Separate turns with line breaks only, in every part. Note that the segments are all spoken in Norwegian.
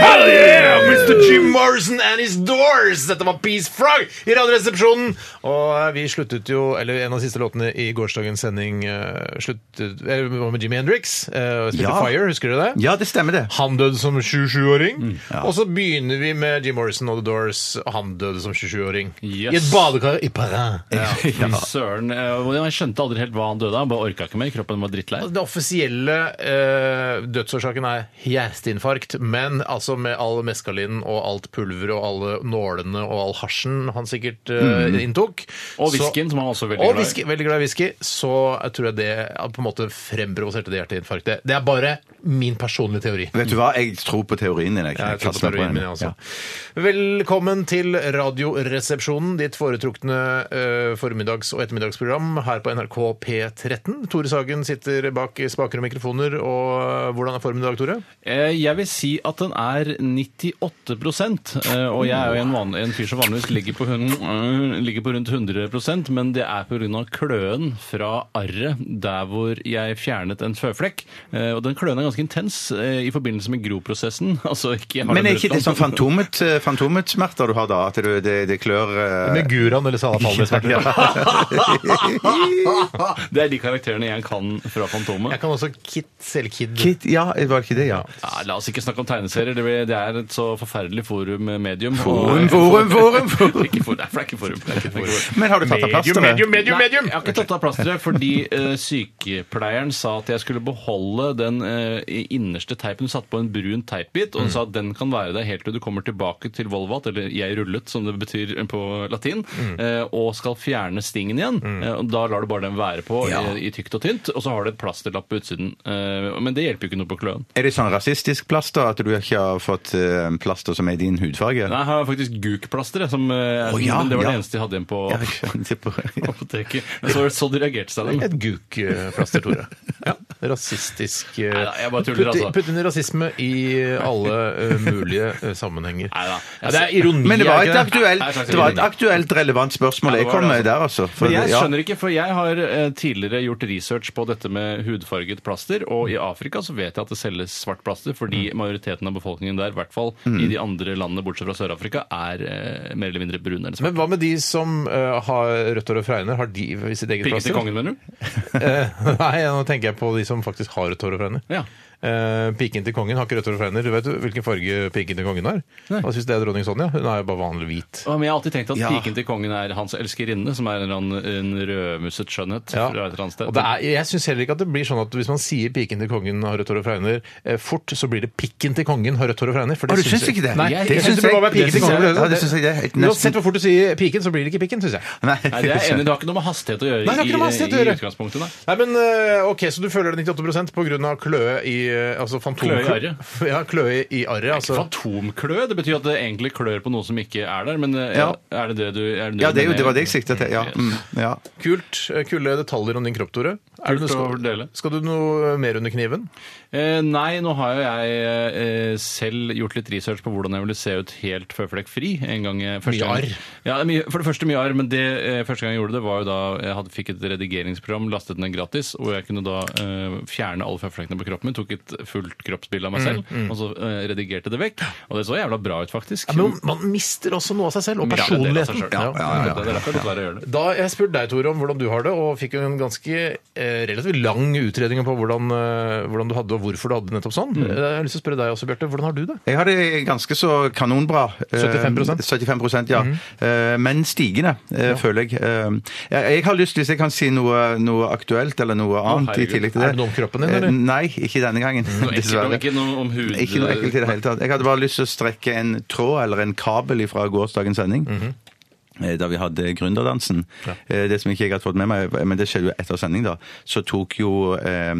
Hell yeah! Mr. Jim Morrison and his doors! Dette var Peace Frog i Radioresepsjonen. Og eh, vi sluttet jo, eller en av de siste låtene i gårsdagens sending eh, sluttet, eh, var med Jimmy Hendrix. eh, og spilte
Ja.
Fire, husker du det?
Ja, Mm, det stemmer, det.
Han døde som 27-åring. Og så begynner vi med Jim Morrison og The Doors. og Han døde som 27-åring.
Yes.
I et badekar i Paris.
Fy Søren. eh, Jeg skjønte aldri helt hva han døde av. Bare orka ikke mer. Kroppen var drittlei.
Den Altså, offisielle eh, dødsårsaken er hjerteinfarkt, men altså med all meskalinen og alt pulveret og alle nålene og all hasjen han sikkert eh, inntok
Mm. Og
så-
whiskyen, som han også er veldig
og
glad i.
whisky, veldig glad i whisky, så jeg tror jeg det eh, på en måte fremprovoserte det hjerteinfarktet. Det er bare min personlige teori.
Vet du hva, jeg tror på teorien din. Jeg,
Jeg
Jeg
tror på
fastner på den.
teorien min, altså. jeg også. Velkommen til Radioresepsjonen, ditt foretrukne eh, formiddags- og ettermiddagsprogram her på NRK P13. Tore Sagen sitter bak spaker og mikrofoner, og eh, hvordan er formen i dag, Tore?
Eh, Jeg vil si at den er 98 eh, og jeg er jo en, van, en fyr som vanligvis ligger på, hun, øh, ligger på rundt 100 men det er pga. kløen fra arret der hvor jeg fjernet en føflekk. Eh, Og den kløen er ganske intens eh, i forbindelse med groprosessen. Altså, ikke, jeg har
Men
den
er ikke det
brutt
sånn
opp.
fantomet, fantometsmerter du har da? At du, det, det klør eh,
Med Guran eller Sala Palmer?
Det er de karakterene jeg kan fra Fantomet.
Jeg kan også Kit, selv Kid.
Kit, ja, det var ikke det, ja.
Ja, la oss ikke snakke om tegneserier. Det, blir- det er et så forferdelig eh, forum-medium.
Forum, forum, forum, forum.
Ikke for, nei, for det er ikke forum. Det er ikke forum.
Men har du tatt av eh?
Medium,
plasteret?
medium, medium, medium!
Nei, jeg har ikke tatt av plasteret fordi eh, sykepleieren sa at jeg skulle beholde den eh, innerste teipen. Hun satte på en brun teipbit, og hun sa at den kan være der helt til du kommer tilbake til Volvat, eller jeg rullet, som det betyr på latin, eh, og skal fjerne stingen igjen. Eh, og da lar du bare den være på eh, i tykt og tynt, og så har du et plasterlapp på utsiden. Eh, men det hjelper jo ikke noe på kløen.
Er det sånn rasistisk plaster at du ikke har fått eh, plaster som er din hudfarge?
Nei, jeg har faktisk gukplaster, jeg, som eh,
Å, ja,
men det var
ja.
det eneste jeg hadde igjen på
Ja, jeg skjønte på-
apoteket. Men så, så de reagerte seg den.
Et gukplaster, Tore. Ja. Rasistisk eh,
Neida, jeg bare tuller,
putt i-
altså.
Putt inn rasisme i alle eh, mulige eh, sammenhenger.
Neida.
Ja, det er ironi.
Men det var
er
et
ikke det?
aktuelt, det var et aktuelt relevant spørsmål jeg
det var
kom
det,
med
altså.
der, altså. For
Men jeg
ja.
skjønner ikke, for jeg har eh, tidligere gjort research på dette med hudfarget plaster, og i Afrika så vet jeg at det selges svart plaster, fordi
Mm.
majoriteten av befolkningen der, i hvert fall i de andre landene bortsett fra Sør-Afrika, er eh, mer eller mindre brune eller svarte.
Men hva med de som eh, har rødt hår og fregner? Har de sitt eget
Piggen til
plaster?
kongen, mener du?
Eh, nei, nå tenker jeg på de som faktisk har rødt hår og fregner.
Ja.
Eh, piken til kongen har ikke rødt hår og fregner. Vet du hvilken farge piken til kongen har? Hva syns det er dronning Sonja? Hun er jo bare vanlig hvit.
Ja, Men jeg har alltid tenkt at
Ja.
piken til kongen er hans elskerinne, som er en, eller annen- en rødmusset skjønnhet
Ja.
fra et eller annet sted.
Og det er, jeg syns heller ikke at det blir sånn at hvis man sier piken til kongen har rødt hår og fregner eh, fort, så blir det pikken til kongen har rødt hår og fregner. for
Å, du
syns
syns ikke det?
Nei,
Det
jeg, jeg
syns
syns det
jeg-
bør være
det
piken til
syns
kongen.
jeg- ja, det syns jeg det er helt nesten-
Uansett hvor fort du sier piken, så blir det ikke piken, syns jeg.
Nei,
Nei, det er jeg enig, i. det har ikke noe med hastighet å gjøre
Nei, det har ikke noe med
i,
hastighet å
i
gjøre.
utgangspunktet. Nei.
Nei, men eh, ok, Så du føler det 98 pga. kløe i eh, altså fantom...
Kløe i arret.
Ja, kløe i arret. Altså.
Fantomklø? Det betyr at det egentlig klør på noe som ikke er der, men eh,
Ja.
er det det du er
Ja, det, er jo, det var det jeg siktet til.
eh,
Ja. Mm, ja.
Kult. eh, Kule detaljer om din kropp, Tore. Er det noe-
å fordele.
skal du noe mer under kniven?
Eh, nei, nå har jo jeg eh, selv gjort litt research på hvordan jeg ville se ut helt føflekkfri. En gang jeg, første
Mye
gang-
arr.
Ja, det er mye- for det første mye arr, men det eh, første gang jeg gjorde det, var jo da jeg hadde, fikk et redigeringsprogram, lastet ned gratis, og jeg kunne da eh, fjerne alle føflekkene på kroppen min, tok et fullt kroppsbilde av meg
Mm,
selv, og så eh, redigerte det vekk. Og det så jævla bra ut, faktisk.
men man mister også noe av seg selv, og
Mye arr, det er det av
personligheten.
seg selv. Det er derfor det er litt verre å gjøre det.
Da jeg spurte deg, Tore, om hvordan du har det, og fikk jo en ganske eh, relativt lang utredning på hvordan, eh, hvordan du hadde det, og hvorfor du hadde det nettopp sånn. Eh, Jeg har lyst til å spørre deg også, Bjarte. Hvordan har du det?
Jeg har det ganske så kanonbra. Eh,
75%?
75 ja.
Mhm.
Eh, Men stigende, eh, føler jeg. Eh, Jeg jeg har lyst, hvis jeg kan si noe, noe aktuelt eller noe annet i
herregud.
tillegg til
Er
det
det noe om kroppen din,
Eh,
eller?
Nei, ikke denne gangen.
Ekkelt, og ikke noe om hud.
Ikke
eh,
noe
Mhm.
ekkelt i det hele tatt. Jeg hadde bare lyst til å strekke en tråd eller en kabel ifra gårsdagens sending. eh, da vi hadde gründerdansen. Eh, Det som ikke jeg hadde fått med meg, men det skjedde jo etter sending, da, så tok jo eh,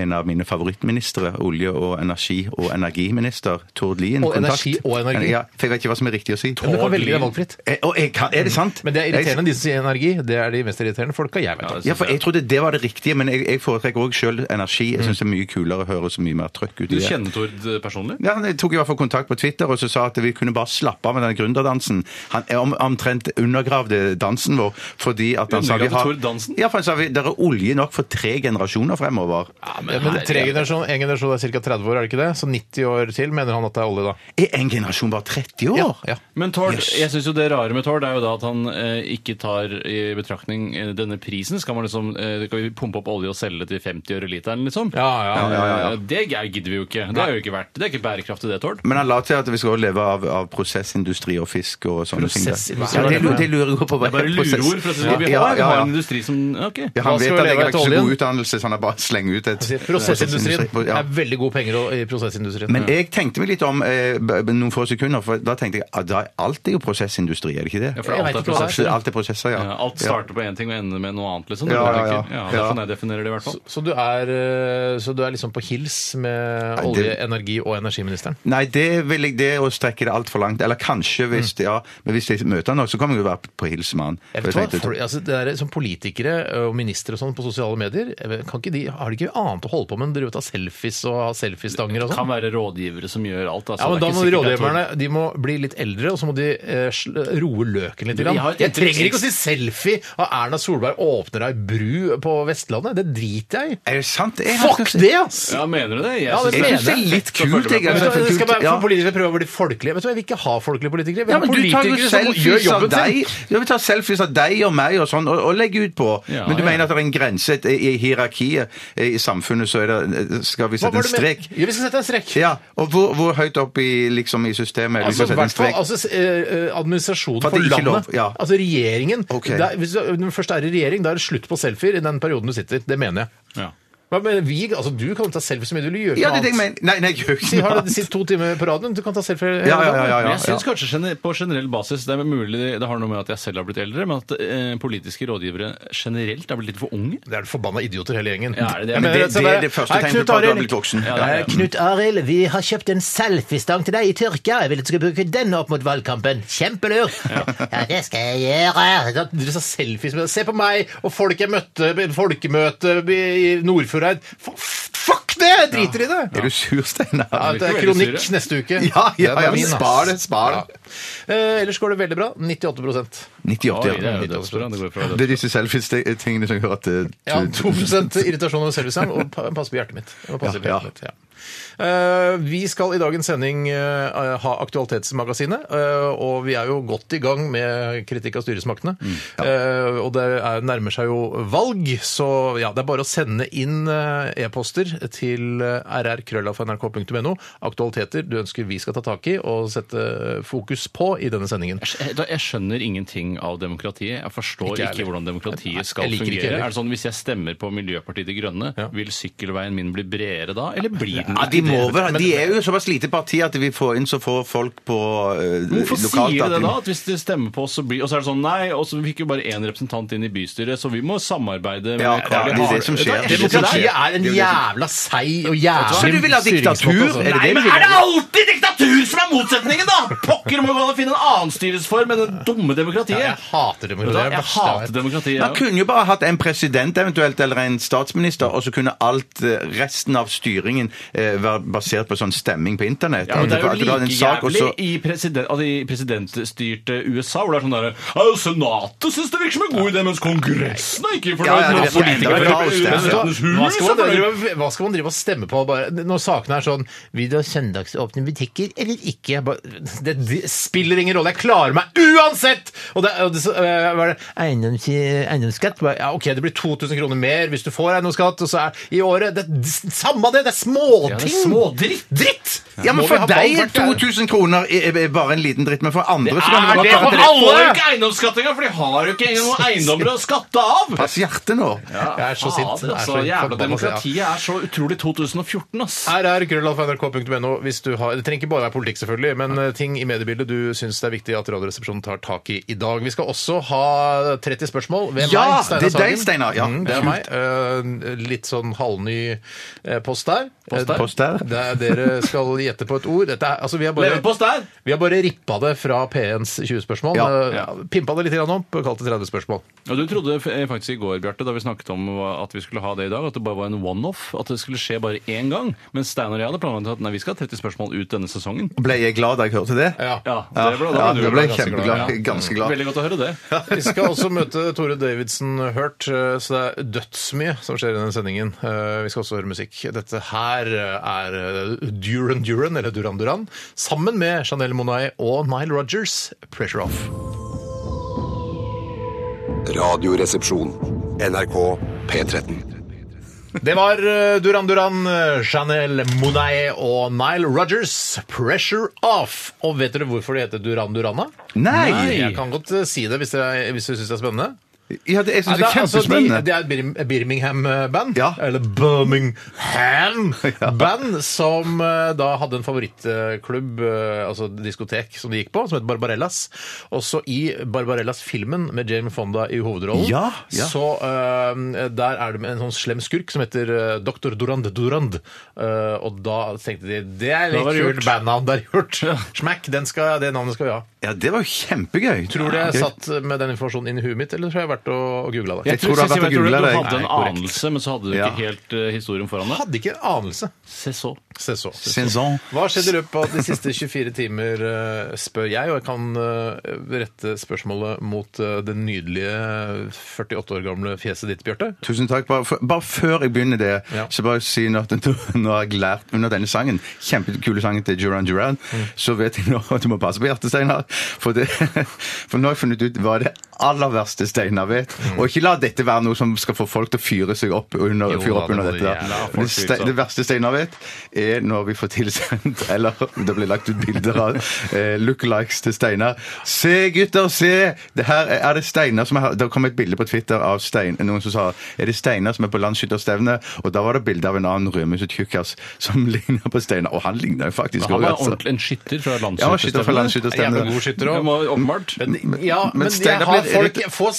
en av mine favorittministre, olje- og energi- og energiminister, Tord Lien,
Og
kontakt.
energi og energi?
Ja, for jeg vet ikke hva som er riktig å si.
Men du kan velge det valgfritt.
Eh, Og jeg kan, er det sant?
Men det er
Jeg-
irriterende, de som sier energi. Det er de mest irriterende folka jeg vet om.
Ja, for jeg trodde det var det riktige, men jeg, jeg foretrekker òg sjøl energi.
Mm.
Jeg syns det er mye kulere å høre så mye mer trøkk ut
Du
i det.
kjenner Tord eh, personlig?
Ja, Han tok i hvert fall kontakt på Twitter og så sa at vi kunne bare slappe av med den gründerdansen. Han om, omtrent undergravde dansen vår fordi at han sa vi
Undergravde
har
Tord dansen?
Ja, for han sa vi, det er olje nok for tre generasjoner fremover.
Ja, men tre generasjon, En generasjon er ca. 30 år, er det ikke det? Så 90 år til mener han at det er olje, da.
Er en generasjon bare 30 år?
Ja.
Men Tord,
Yes.
jeg synes jo det rare med Tord er jo da at han eh, ikke tar i betraktning eh, denne prisen. Skal man liksom eh, skal vi pumpe opp olje og selge det til 50 øre literen, liksom?
Ja, ja, ja,
Eh, Det g- gidder vi jo ikke. Det er jo ikke verdt. Det er ikke bærekraftig det, Tord.
Men han la til at vi skal også leve av, av prosessindustri og fisk og sånne ting.
Prosessindustri,
Ja,
hva
det,
er det
lu-
for noe?
det lurer jeg på.
Det er bare lurord. for å si det. Vi har, vi har en industri som Ok.
Ja, han
Hva
vet at
skal vi
jeg
leve
har ikke så
etter
god
oljen?
utdannelse, så han har bare slengt ut et
Prosessindustrien
prosessindustri- Ja.
er veldig gode penger å- i prosessindustrien.
Men jeg tenkte meg litt om eh, b- b- noen få sekunder, for da tenkte jeg at da er alt er jo prosessindustri, er det ikke det?
Ja, for
Jeg
alt
vet
er
ikke hva det er.
prosesser.
Absolutt, alt er prosesser, ja.
Ja, alt starter på én ting og ender med noe annet, liksom.
Ja,
Det er det
ja,
ikke.
ja.
det er sånn jeg definerer det, i hvert fall.
Så du er, eh, så du er liksom på hils med
Nei, det-
olje-, energi- og energiministeren?
Nei, det vil jeg det å strekke det altfor langt. Eller kanskje, hvis det, ja. Men hvis jeg møter han nå, så kommer jeg jo være på hils med han.
Jeg
For
vet hva,
tenkte-
for, altså, det der, som politikere og ministre og sånn på sosiale medier, jeg vet- kan ikke de, har de ikke annet å holde på med enn å ta selfies og ha selfiestanger og
Det kan
sånn?
være rådgivere som gjør alt. Altså.
Ja, men
Det
Da
er
må
ikke sikkert det er Tord.
rådgiverne de må bli litt eldre, og så må de eh, sl- roe løken litt.
Vi
grann.
har et
Jeg trenger
inntrykk-
ikke å si selfie av Erna Solberg åpner ei bru på Vestlandet. Det driter jeg i.
Er det sant? Jeg har
Fuck
kanskje-
det, ass!
Ja, mener du det? Jeg
Ja, det
synes
Jeg
mener
syns det er litt
Så følger
kult, jeg.
man
Vet
altså,
du, hva, det skal være
kult, ja.
for politikere prøve å bli folkelige. Vet du hva, Jeg vil ikke ha folkelige politikere. Jeg vil
Ja,
ha
men du tar jo
politikere som gjør
selfies av
jobben
deg
sin.
Ja, vi tar selfies av deg og meg og sånn, og, og legger ut på.
Ja,
men du
ja.
mener at det er en grense et- i hierarkiet eh, i samfunnet, så er det, eh, skal vi
Hva
sette
var
en
det med-
strek?
Ja, vi skal sette en strek.
Ja, og hvor, hvor høyt opp i, liksom, i systemet er det vi
Altså,
skal sette en
hvert fall,
strek?
altså eh, eh, administrasjonen
For at
for,
det ikke er lov,
landet,
ja.
altså regjeringen
Ok.
der, Hvis du når du først er i regjering, da er det slutt på selfier i den perioden du sitter. Det mener jeg.
Ja.
Hva med vi? Altså, du kan ta selfie så mye du vil. Gjøre
Ja, det er
noe
det jeg
annet.
mener. Nei, nei, jeg gjør
Si,
ikke
har
noe
du sittet to timer på radioen, du kan ta selfie. hele
Ja, ja,
dagen.
ja, ja, ja.
Men jeg syns kanskje gener- på generell basis Det er mulig det har noe med at jeg selv har blitt eldre, men at eh, politiske rådgivere generelt er blitt litt for unge.
Det er du forbanna idioter, hele gjengen.
Ja, er det det?
Jeg
Men
mener,
det-
så
det er
bare-
det første
Nei,
tegnet på at
Knut
du har
Arild-
blitt voksen.
Ja,
ja,
ja,
ja.
ja.
Knut Arild, vi har kjøpt en selfiestang til deg i Tyrkia. Jeg vil at du skal bruke den opp mot valgkampen. Kjempelurt! Ja. det skal jeg gjøre.
Da dere sa selfies med Se på meg og folk jeg møtte på folkemøte i Nordfjordeid. F- Fuck det! Jeg driter i det!
Er du sur, Steinar?
Ja, det er
virker veldig
kronikk
sure.
neste uke.
Ja, ja,
Den er
ja,
min, ass.
spar det, spar det.
Ja. Eh, ellers går det veldig bra. 98
Oi,
98,
det
ja.
er jo dødsbra. Det går fra
Det er disse selfies-tingene som gjør at eh, det-
Ja, 2 irritasjon over servicen, og pa- pass på hjertet mitt. Jeg må passe på
Ja,
hjertet mitt, ja. Eh, vi skal i dagens sending eh, ha Aktualitetsmagasinet, eh, og vi er jo godt i gang med kritikk av styresmaktene.
Mm,
Eh, og det er, nærmer seg jo valg, så ja, det er bare å sende inn eh, e-poster til eh, rrkrøllafnrk.no. Aktualiteter du ønsker vi skal ta tak i og sette fokus på i denne sendingen.
Jeg, da- jeg skjønner ingenting av demokratiet. Jeg forstår
Ikke jeg
ikke,
heller.
hvordan
Nei,
demokratiet
jeg
skal
liker det ikke
fungere.
heller.
Er det sånn Hvis jeg stemmer på Miljøpartiet De Grønne,
Ja.
vil sykkelveien min bli bredere da? Eller blir den
Ja, de,
ikke
må
det?
vel, de er jo såpass lite parti at vi får inn så få folk på eh,
Hvorfor
lokalt
sier
at
de det
vi-
da? At hvis de stemmer på oss, så blir Og så er det sånn nei, og så fikk jo bare én representant inn i bystyret, så vi må samarbeide med
Ja, ja,
Carl I.
det er det
Hagen.
som skjer. Det er jo det som
Demokratiet
skjer.
er
Det er
en
jo det som-
jævla seig og
Så du vil
jævlig
ha diktatur?
styringsmåte, altså.
Er det
Nei,
det
men
vi vil
er det
ha?
alltid diktatur som er motsetningen, da?! Pokker må gå an å finne en annen styresform enn det dumme demokratiet.
Jeg hater
Vet du hva?
demokrati. Det
Jeg
er det verste jeg
hater
vet.
demokratiet.
Man
jeg også.
kunne jo bare hatt en president eventuelt, eller en statsminister, og så kunne alt eh, resten av styringen eh, være basert på sånn stemming på internett.
Ja, men det er
At du- at du
jo
hadde en
like
sak, og
jævlig
så-
i, president, altså i presidentstyrte USA, hvor det er sånn derre «Ja, Senatet syns det virker som en god idé, mens Kongressen er ikke fornøyd.
Ja, ja, det
med
er enda
politikere
verre
fra
hos dem, ja.
Representantenes hus
Altså, Hva skal, man
er fornøyd.
drive, hva skal man drive og stemme på bare, når sakene er sånn Vil du ha søndagsåpne butikker eller ikke? Jeg Bare, det, det spiller ingen rolle. Jeg klarer meg uansett! Og det, og det, så, eh, hva er det? Eiendoms, eiendomsskatt? Bare, Ja, OK, det blir 2000 kroner mer hvis du får eiendomsskatt og så er, i året. Det, det, samme det! Det er småting!
Ja, det er smådritt.
Dritt!
Ja, men
Må vi
for
ha
deg er
ballpark der?
2000 kroner er- er bare en liten dritt, men for andre så kan
Er
det
det
godt
for
være at
alle? Får jo ikke eiendomsskatt engang, for de har jo ikke engang noen eiendommer å skatte av!
Pass hjertet nå.
Jeg er så
Fader,
sint. Jeg er så
altså, jævla
forbanna sint,
demokratiet er så utrolig 2014, ass.
Her er krøllalfa.nrk.no hvis du har Det trenger ikke bare være politikk, selvfølgelig, men eh, ting i mediebildet du syns det er viktig at Radioresepsjonen tar tak i i dag. Vi skal også ha 30 spørsmål ved
Ja,
meg, Steinar
det er deg,
Sagen.
Steinar. Ja,
Mm, det er meg. Eh, litt sånn halvny eh, post der.
der.
Eh,
Post der.
Det er dere skal gjette på et ord. Dette er, altså, vi har bare
Leverpost der!
vi har bare rippa det fra P1s 20-spørsmål.
Ja,
ja.
eh, Pimpa det litt grann opp og kalt det 30-spørsmål.
Ja, du trodde f- eh, faktisk i går, Bjarte, da vi snakket om hva- at vi skulle ha det i dag, at det bare var en one-off. At det skulle skje bare én gang. Men Steinar og jeg hadde planlagt at nei, vi skal ha 30 spørsmål ut denne sesongen.
Ble jeg glad da jeg hørte det?
Ja.
Ja,
Ja,
det ble, da
ja,
ble du
da ble jeg
ganske glad. Mm.
kjempeglad.
Ja.
Ganske glad.
Veldig godt å høre det.
Vi skal også møte Tore Davidsen Hurt, eh, så det er dødsmye som skjer i denne sendingen. Eh, Vi skal også høre musikk. Dette her er eh, Duran Duran, eller Duran Duran, sammen med Chanel Monay og Nile Rogers, 'Pressure Off'.
Radioresepsjon. NRK P13.
Det var eh, Duran Duran, eh, Chanel Monay og Nile Rogers, 'Pressure Off'. Og vet dere hvorfor det heter Duran Duran, da?
Nei!
Jeg kan godt eh, si det hvis dere hvis dere syns det er spennende.
Ja, det, jeg syns det er
Nei, altså, de-
kjempespennende.
det er et Bir- Birmingham-band,
Ja.
eller Birmingham-band, som eh, da hadde en favorittklubb, eh, altså diskotek, som de gikk på, som het Barbarellas. Også i Barbarellas-filmen med Jamie Fonda i hovedrollen,
Ja, ja.
så eh, der er det med en sånn slem skurk som heter eh, Dr. Durand Durand. Eh, og da tenkte de, det er litt
var det
kult
gjort.
bandnavn der gjort. Smack, den skal, det navnet skal vi ha.
Ja, det var jo kjempegøy.
Tror du jeg
Gøy.
satt med den informasjonen inn i huet mitt, eller tror jeg jeg har vært å, å google det?
Jeg tror det har
Sissy,
vært å
jeg tror
google
du
deg.
hadde en
Nei, korrekt.
anelse, men så hadde du
Ja.
ikke helt eh, historien foran deg.
Hadde ikke anelse.
Se så.
Se så.
Saison.
Hva har skjedd i løpet av de siste 24 timer, eh, spør jeg, og jeg kan eh, rette spørsmålet mot eh, det nydelige 48 år gamle fjeset ditt, Bjarte.
Tusen takk. Bare, f- bare før jeg begynner det,
Ja.
så bare si nå at nå har jeg lært under denne sangen, kjempekule sangen til Duran Duran,
Mm.
så vet jeg nå at du må passe på hjertet, Steinar. For, det- for nå har jeg funnet ut hva det aller verste Steinar vet.
Mm.
Og ikke la dette være noe som skal få folk til å fyre seg opp under,
Jo
fyre opp
da, det
under
må
dette.
du
Der.
gjerne ha
Det,
folk fyrt
ste-
opp.
det verste Steinar vet, er når vi får tilsendt, eller det blir lagt ut bilder av eh, lookalikes til Steinar. Se, gutter, se! Det her er- er det Steinar som har Det kom et bilde på Twitter av Stein, noen som sa er det Steinar som er på landsskytterstevne, og da var det bilde av en annen rødmuset tjukkas som ligner på Steinar. Og han ligner jo faktisk
Han
også,
var
altså.
ordentlig en skytter fra
Ja, skytter fra landsskytterstevnet.
Jævla god skytter også.
Det var Åpenbart.
Ja, men,
men
jeg
Steinar
har
blir-
folk får,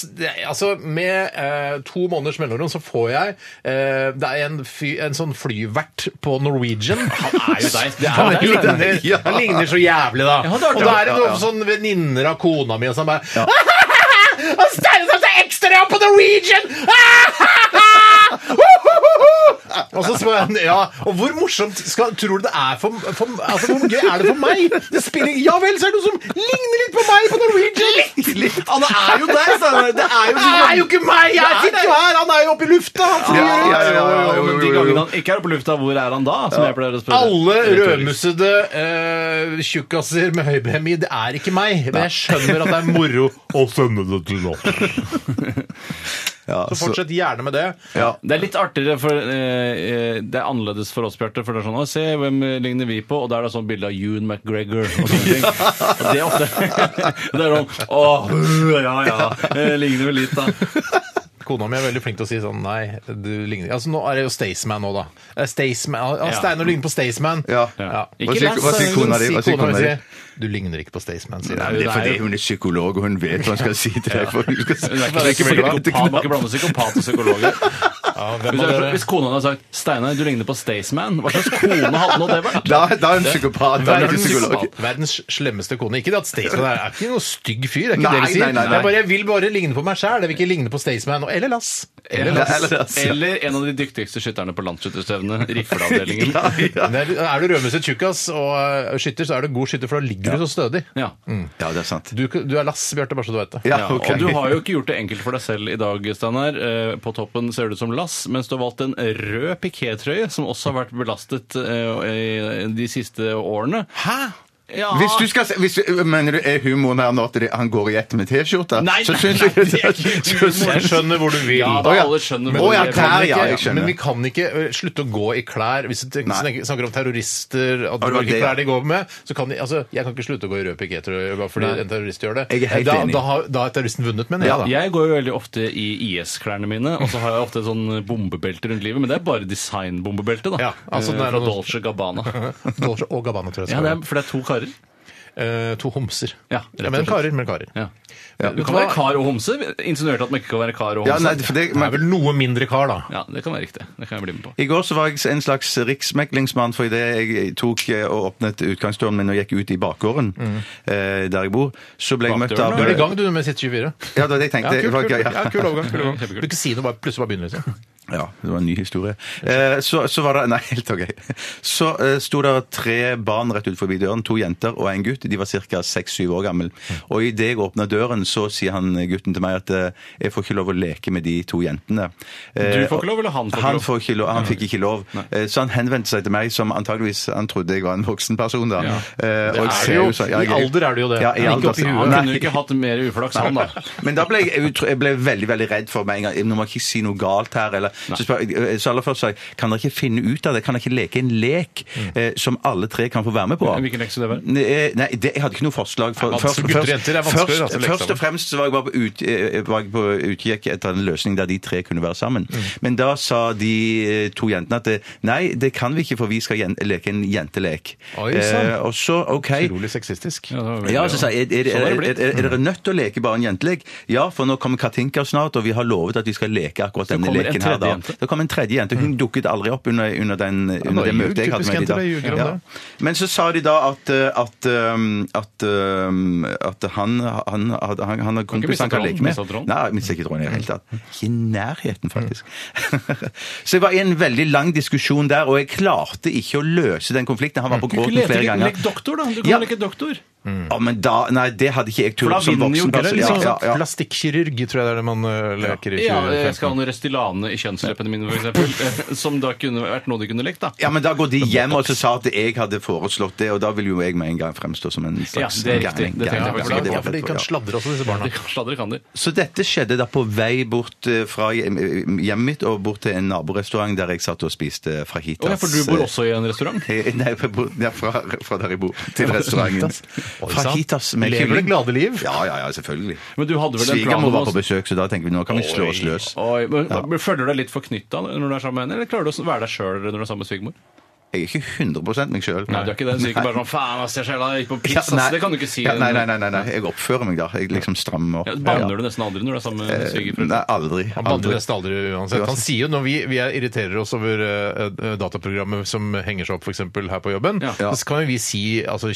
Altså, med eh, to måneders mellomrom så får jeg eh, Det er en, fy, en sånn flyvert på Norwegian. Han
er jo deg.
Det
Han er jo
er, han, ligner,
deg, ja.
han ligner så jævlig, da.
Ja, det er
og
det.
da er det
Ja,
noen
ja.
sånn venninner av kona mi og sånn bare «Og Steinar tar seg ekstra jobb på Norwegian! Og så spør jeg ja, og hvor morsomt skal, tror du det er for, for altså, Hvor gøy er det for meg? Det spiller, ja vel, så er det noe som ligner litt på meg på Norwegian! Litt, litt. Han er jo der, Steinar! Det er jo, ikke meg! Jeg sitter jo her! Han er jo oppe i lufta! Han flyr rundt!
Ja, ja, ja, ja,
Jo,
jo,
men
jo,
de
jo, jo.
gangene han ikke er på lufta, hvor er han da? Som jeg pleier å spørre.
Alle
Retorisk.
rødmussede eh, tjukkaser med høy BMI, det er ikke meg. Men jeg skjønner at det er moro å sende det til nå.
altså. Ja,
Så fortsett gjerne med det.
ja.
Det er litt artigere, for eh, eh, det er annerledes for oss, Bjarte. For det er sånn, å, se hvem eh, ligner vi på? Og da er det sånn bilde av Ewan McGregor og sånne ting. Og det er ofte Det er sånn Å, ja ja, eh, ligner vel litt, da.
Kona mi er veldig flink til å si sånn Nei, du ligner Altså nå er det jo Staysman nå, da. Eh, Staysman ja,
Ja.
Steinar ligner på Staysman.
Ja.
Ja.
Hva sier, hva sier kona di? Hva sier
Kona mi
kona di?
sier, Du ligner ikke på Staysman, sier
Nei,
hun.
men det er
det er
fordi
jo-
hun er psykolog, og hun vet hva hun skal si til deg. For hun skal si,
Hun er ikke psykopat, man kan ikke blande psykopat og psykologer.
Ja,
Hvis,
hvem
det
av
er, så-
dere?
hvis kona hadde sagt 'Steinar, du ligner på Staysman', hva slags kone hadde nå det vært?
Da, da er hun psykopat. Da er hun ikke psykolog.
Verdens slemmeste kone. Ikke det at Staysman er, er ikke noen stygg fyr. Det er ikke
Nei,
det vi sier.
nei, nei, nei.
Jeg, bare, jeg vil bare ligne på meg sjæl. Jeg vil ikke ligne på Staysman og- eller Lass.
Eller,
Eller Lasse.
eller en av de dyktigste skytterne på landsskytterstevnet, Rifleavdelingen.
Ja, ja.
Men Er du er du rødmusset tjukkas og eh, skytter, så er du god skytter, for da ligger du så stødig.
Ja.
Ja, det er sant.
Du, du er lass, Bjarte, bare så du vet det.
Ja,
Ja,
ok.
Og du har jo ikke gjort det enkelt for deg selv i dag, Steinar. Eh, På toppen ser du ut som lass, mens du har valgt en rød pikétrøye, som også har vært belastet eh, i de siste årene.
Hæ?
Ja.
Hvis du skal, se- hvis, du- mener du er humoren her nå at det- han går i ett med T-skjorta?
Nei,
Så
nei,
syns
nei,
jeg-
det er ikke
så
humor.
syns-
Jeg skjønner hvor du vil.
Ja,
Å,
da
ja.
alle skjønner
Men-
hvor
Å, ja,
det
der,
kommer.
ja. jeg skjønner.
Men vi kan ikke ø, slutte å gå i klær. Hvis vi
Nei.
snakker snakker om terrorister,
det
at
var
hvilke
det, ja.
klær de går med så kan de, altså, Jeg kan ikke slutte å gå i røde piketter bare fordi en terrorist gjør det. Eh,
Jeg er helt
da,
enig.
Da, har, da er terroristen vunnet, mener jeg. da.
Jeg går jo veldig ofte i IS-klærne mine, og så har jeg ofte sånn bombebelte rundt livet, men det er bare designbombebelte, da.
Ja, altså, den
Eh,
er
Fra
noe-
Dolce Gabbana.
Dolce og Gabbana, tror jeg.
Ja,
skal
det
være.
er, for det er to karer.
Eh, to homser.
Ja, rett og
men
slett.
karer. Men karer.
Ja.
Ja,
Du
vet
kan
hva?
være kar og homse. Insinuerte at man ikke kan være kar og
Ja, nei,
homse.
for det,
Det er
men,
vel noe mindre kar, da.
Ja, det kan være riktig. Det kan jeg bli med på.
I går så var jeg en slags riksmeklingsmann, for idet jeg tok eh, og åpnet utgangsdøren min og gikk ut i bakgården eh, der jeg bor, så ble jeg møtt
Mm. Bakdøren,
av
Du er i gang du med sitt 24.
Ja, det var det jeg tenkte. Det var gøy, ja.
kul overgang. Kul overgang.
Kjempekult.
Du kan ikke si noe, bare plutselig bare begynner. Liksom.
Ja, det var en ny historie. Eh, så, så var det Nei, helt OK. Så eh, sto det tre barn rett ut forbi døren. To jenter og en gutt. De var ca. seks-syv år gammel. Og idet jeg åpna døren, så sier han gutten til meg at eh, jeg får ikke lov å leke med de to jentene. Eh,
Du får ikke lov, eller han får ikke
han
lov?
får ikke lov? Han fikk ikke lov. Eh, Så han henvendte seg til meg, som antageligvis han trodde jeg var en voksen person, da.
Ja.
Eh,
Det
og jeg
er
ser
jo-
så- ja,
i
jeg er-
alder er det jo det.
Ja, i
Men ikke
alder. altså.
oppi huet.
Han
Nei.
kunne jo ikke hatt mer uflaks, han da.
Men da ble jeg, jeg tror- jeg ble veldig veldig redd for meg en gang. Nå må jeg ikke si noe galt her. Eller, så, spør, jeg- eh, så aller først sa jeg kan dere ikke finne ut av det? Kan dere ikke leke en lek
Mm.
eh, som alle tre kan få være med på? eh,
Hvilken lek skulle det være?
Nei, Nei, det, jeg hadde ikke noe forslag. For,
Nei, vanskelig.
først-
Gutter og
først-
jenter er vanskeligere,
først,
altså, leke
først og
sammen.
fremst så var jeg bare på, ut, eh, var jeg på utkikk etter en løsning der de tre kunne være sammen.
Mm.
Men da sa de eh, to jentene at det, nei, det kan vi ikke, for vi skal jen, leke en jentelek.
Oi, sant.
Eh, og så, OK.
Utrolig sexistisk.
Ja, det var veldig
Ja,
bra.
så sa jeg, er, er,
Sånn
er,
har det
er,
blitt.
er dere nødt til å leke bare en jentelek? Ja, for nå kommer Katinka snart, og vi har lovet at vi skal leke akkurat denne
kommer en
leken her.
tredje
Da.
jente.
Det kom en tredje jente. Hun dukket aldri opp under, under, den, under det
ljug,
møtet jeg hadde
typisk
med
jenter,
de
de ljuger om
da.
det.
Men så sa de da at, eh, at, eh, at, eh, at han, han, hadde- han, han har kompis
miste
han kan
tråden,
leke med.
miste tråden.
Nei, jeg mister ikke tråden i det hele tatt. Ikke i nærheten, faktisk. så jeg var i en veldig lang diskusjon der, og jeg klarte ikke å løse den konflikten. Han var på
Du kunne
gråten flere
leke
ganger.
lek doktor, da. Du kan
Ja.
jo leke doktor.
Ja, men da, nei, det hadde ikke jeg
For da
turt som
vinner jo
voksen.
ikke det,
ja,
liksom.
ja, ja.
Plastikkirurgi sånn tror jeg det er det man ø, leker i.
Ja,
2015.
jeg skal ha noe Restylane i kjønnsleppene mine, f.eks. Som da kunne vært noe du kunne lekt, da.
ja, men da går de hjem og så sa at jeg hadde foreslått det, og da vil jo jeg med en gang fremstå som en slags
Ja, det er riktig.
gærning.
Det tenkte jeg
Gærning,
faktisk
ja,
ikke på.
det
Ja,
var
for de
fett,
kan
ja.
sladre også, disse barna.
De kan Sladre kan de.
Så dette skjedde da på vei bort eh, fra hjem- hjemmet mitt og bort til en naborestaurant der jeg satt og spiste fajitas.
Å ja, for du bor også i en restaurant?
Eh, Nei, jeg bor- ja, fra, fra der jeg bor, til restauranten.
Oi, sant.
Fajitas med
Lever det glade liv?
Ja, ja, ja, selvfølgelig.
Men du hadde vel en plan
Svigermor
om
var
å
på besøk, så da tenker vi nå kan vi slå oss løs.
Oi, men, men Føler du deg litt forknytta når du er sammen med henne, eller klarer du å være deg sjøl når du er sammen med svigermor?
Jeg er ikke 100 meg sjøl.
Nei, du er ikke det. Du er ikke bare sånn 'faen, ass, jeg sjela gikk på pizza',
nei.
ass. det kan du ikke si.
Ja, nei, nei, nei, nei, nei, jeg oppfører meg da. Jeg liksom strammer opp.
Ja, banner du nesten aldri når du er sammen med
Eh, Nei,
svigerforeldre?
aldri.
Han banner
aldri.
nesten aldri uansett. Han sier jo når vi, vi er, irriterer oss over eh, eh, dataprogrammer som henger seg opp f.eks. her på jobben,
Ja.
så kan jo vi si altså,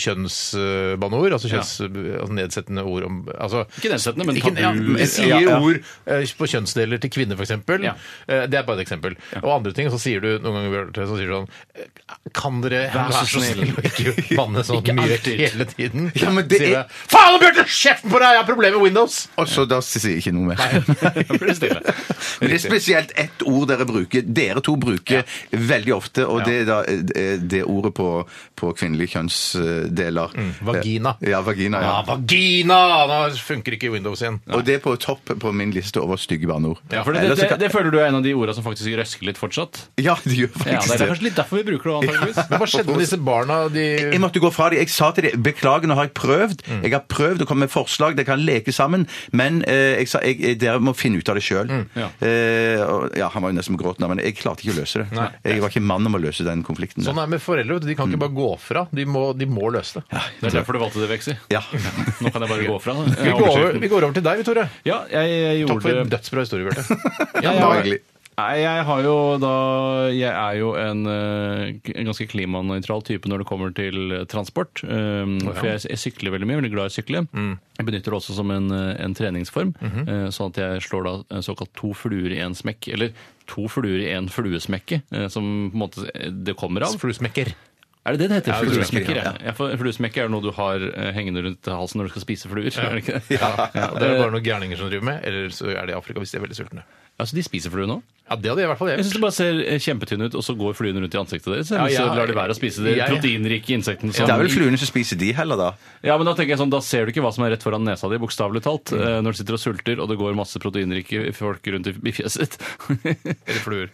kjønnsbanneord, altså, kjønns, altså nedsettende ord om altså,
Ikke nedsettende, men
ikke-
tabu.
ja, men jeg sier
Ja, ja.
ord eh, på kjønnsdeler til kvinner, f.eks. eksempel
Ja.
Eh, Det er bare et eksempel. Og andre ting, så sier du noen ganger Bjarte, så sier du sånn eh, Kan dere
Vær så snill.
å ikke banne sånn
Ikke
mye
alltid.
hele tiden?
Ja, men det
Sier
er-
jeg, Faen, Bjarte! Kjeften på deg! Jeg har problemer med Windows!
Og så da sier jeg ikke noe mer.
Da blir det stille.
Men det er spesielt ett ord dere bruker, dere to bruker veldig ofte, og det er da eh, det ordet på, på kvinnelige kjønnsdeler.
vagina.
Eh, Ja, vagina, ja.
Ja, Ah, vagina! Da funker ikke Windows igjen.
Og det er på topp på min liste over stygge banneord.
Ja, for det, det,
Ellers så
det,
kan-
det føler du er en av de orda som faktisk røsker litt fortsatt?
Ja, det gjør
Ja,
faktisk
Det er
det.
kanskje litt derfor vi bruker det, antakeligvis.
Men hva skjedde med disse barna? De
Jeg måtte gå fra dem. Jeg sa til dem beklager, nå har jeg prøvd.
Mm.
Jeg har prøvd å komme med forslag, dere kan leke sammen. Men eh, jeg sa jeg, jeg- dere må finne ut av det sjøl.
Mm.
Ja.
Eh, og- ja, han var jo nesten på gråten, da, men jeg klarte ikke å løse det. Jeg var ikke mann om å løse den konflikten.
Sånn er det med foreldre. vet du, De kan ikke bare gå fra. De må, de må løse det.
Det er derfor du valgte det, Veksi.
Ja.
Nå kan jeg bare gå fra. da.
Vi
Jeg
går, over,
overser den.
vi går over til deg, vi, Tore.
Ja, jeg, jeg
Takk for en
gjorde
dødsbra historie, Bjarte.
Ja,
Bare
jeg,
hyggelig.
Nei, jeg har jo da Jeg er jo en, eh, k- en ganske klimanøytral type når det kommer til eh, transport. Um, For jeg, jeg sykler veldig mye, veldig glad i å sykle.
Mm.
Jeg benytter det også som en, eh, en treningsform,
Mhm.
eh, sånn at jeg slår da eh, såkalt to fluer i én smekk. Eller to fluer i én fluesmekke, eh, som på en måte eh, det kommer av.
Fluesmekker.
Er det det det heter?
Ja,
fluesmekker.
fluesmekker,
Ja. Ja, for fluesmekker er noe du har eh, hengende rundt halsen når du skal spise fluer. er det ikke det?
Ja, det er bare noen gærninger som driver med. Eller så er de i Afrika hvis de er veldig sultne.
Ja, Altså, de spiser flue nå?
Ja, det hadde jeg i hvert fall
Jeg
gjort.
syns det bare ser eh, kjempetynne ut, og så går fluene rundt i ansiktet deres. Eller
Ja, ja.
så lar de være å spise de
Ja, ja.
proteinrike insektene.
Det
Som
er vel fluene som spiser de heller, da.
Ja, men Da tenker jeg sånn, da ser du ikke hva som er rett foran nesa di, bokstavelig talt. eh, Når du sitter og sulter, og det går masse proteinrike folk rundt i i fjeset ditt.
Eller fluer.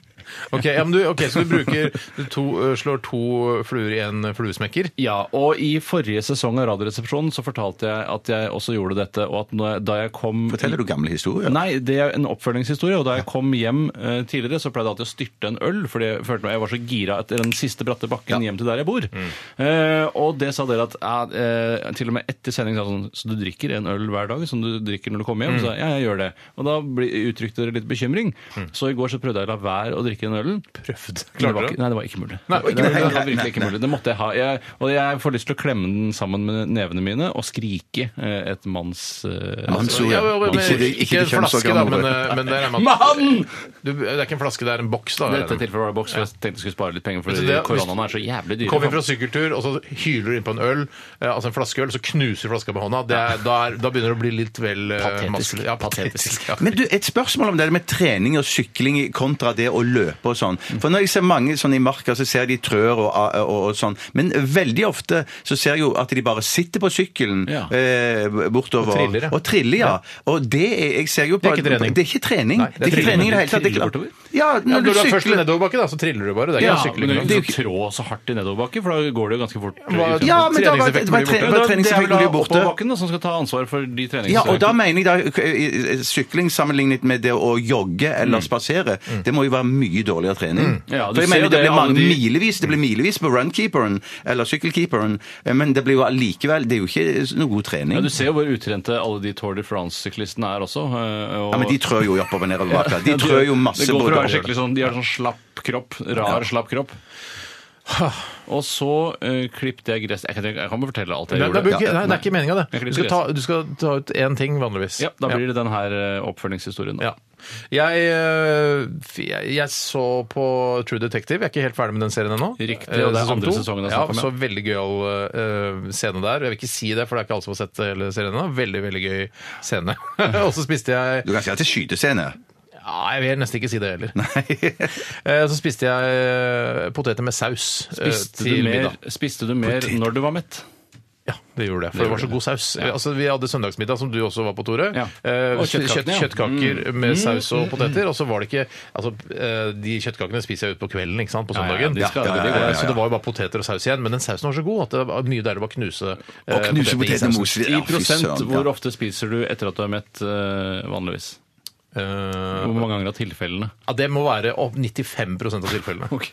Ok, ja, men du, ok, Så du bruker du to, øh, slår to fluer i en fluesmekker?
Ja, og i forrige sesong av Radioresepsjonen så fortalte jeg at jeg også gjorde dette, og at når jeg, da jeg kom
Forteller du gamle historier?
Nei, det er en oppfølgingshistorie. Og da jeg kom hjem eh, tidligere, så pleide jeg alltid å styrte en øl, fordi jeg følte meg jeg var så gira etter den siste bratte bakken hjem til der jeg bor.
Mm.
Eh, og det sa dere at eh, eh, til og med etter sending sa jeg sånn Så du drikker en øl hver dag som du drikker når du kommer hjem? Så
Mm.
jeg, ja, jeg gjør det. Og da bli, uttrykte dere litt bekymring. Så i går så prøvde jeg å la være å drikke den ølen. Prøvde?
Klarte
det var
du det?
ikke, nei, det var ikke mulig.
Nei,
det,
ikke mulig.
det var virkelig ikke mulig. Det måtte jeg ha. Jeg, og jeg får lyst til å klemme den sammen med nevene mine og skrike eh, et manns... eh,
Mannsord,
Ja,
ja.
men-
Ikke det- ikke
ikke
det
en flaske, da,
kjønnsorganet
men,
vårt.
øh, men der er man
Mann!
Du, det er ikke en flaske, det er en boks. da.
I dette
regner jeg med.
tilfellet var det boks, for jeg tenkte jeg skulle spare litt penger,
Så
fordi
det-
koronaen er så jævlig dyr.
Kommer fra sykkeltur, og så hyler du innpå en øl, eh, altså en flaskeøl, så knuser flaska med hånda. Det er, da, er, da begynner det å bli litt vel eh,
Patetisk.
maskul- Ja,
Patetisk.
patetisk. Ja.
Men du, Et spørsmål om det med trening og sykling i- kontra det å løpe og sånn. For Når jeg ser mange sånn i marka, så ser de trør og, og, og sånn. Men veldig ofte så ser jeg jo at de bare sitter på sykkelen
Ja.
eh, bortover.
Og triller, ja.
Og triller, ja. Og det er, jeg ser jo på,
Det er ikke trening.
Det er ikke trening,
Nei,
det er ikke trening i det hele tatt. Det er
Triller
klart-
bortover?
Ja, når
Ja, når du er
du
først i
sykler
nedoverbakke, da, så triller du bare. Det er
Ja,
ikke noe
men
sykling.
du
ikke
kan
sant?
ikke trå så hardt i nedoverbakke, for da går det jo ganske fort.
Hva-
i utgangspunktet.
Ja, men da var-
Treningseffekten
det var
blir
tre- det var
det
borte.
er vel
treningseffekten
da
blir borte.
oppoverbakken da, som skal ta ansvar for de trenings...
Ja, og da mener jeg da eh, eh, sykling sammenlignet med det å jogge eller spasere. Det må jo være mye dårligere trening.
Mm. Ja, du
For jeg
ser
mener
jo
det
det,
blir mange
alle de-
milevis, det blir milevis på runkeeperen eller sykkelkeeperen, eh, men det blir jo allikevel Det er jo ikke eh, noe god trening.
Ja, du
Ja,
ser jo hvor utrente alle de Tour de France-syklistene er også. eh, Og...
men de trør jo oppover nedover baka. De
Ja,
trør jo masse
Det går for å være
bortover.
skikkelig sånn, De har sånn slapp kropp. Rar, slapp kropp. Og så uh, klippte jeg gress. Jeg kan, jeg kan bare fortelle alt jeg
Nei, det,
gjorde.
er ikke, nei, det er ikke meninga, det.
Jeg kan
Du
ikke
skal, ta, du skal ta ut én ting, vanligvis.
Ja, da blir det den her eh, oppfølgingshistorien. da.
Ja. Jeg, øh, f- jeg, jeg så på True Detective. Jeg er ikke helt ferdig med den serien ennå.
Riktig,
Eh,
og det er
sesong
andre
to.
sesongen jeg
ja,
snakker om,
Så veldig gøyal øh, scene der. Jeg vil ikke si det, for det er ikke alle som har sett hele serien ennå. Veldig, veldig gøy scene. og så spiste jeg
Du kan si at det er skytescene.
ja, Jeg vil nesten ikke si det heller. Eh, så spiste jeg øh, poteter med saus eh,
Spiste du
til
mer,
middag.
spiste du mer
Potet.
når du var mett?
Ja, det gjorde jeg, for det, var så god saus. Altså, vi hadde søndagsmiddag, som du også var på, Tore.
Ja.
Eh,
Og
kjøtt,
kjøttkakene, ja.
kjøttkaker med saus og poteter. Og så var det ikke Altså, eh, de kjøttkakene spiser jeg ut på kvelden, ikke sant, på
Ja, ja,
søndagen.
de skal-
Eh,
de- de- ja, ja,
Så det var jo bare poteter og saus igjen. Men den sausen var så god at det var mye deilig å bare knuse eh,
Og knuse
potetene i
potetene
sausen.
mos.
I prosent, hvor ofte spiser du etter at du er mett eh, vanligvis? Hvor
Eh,
mange ganger av tilfellene?
ja, det må være opp 95 av tilfellene.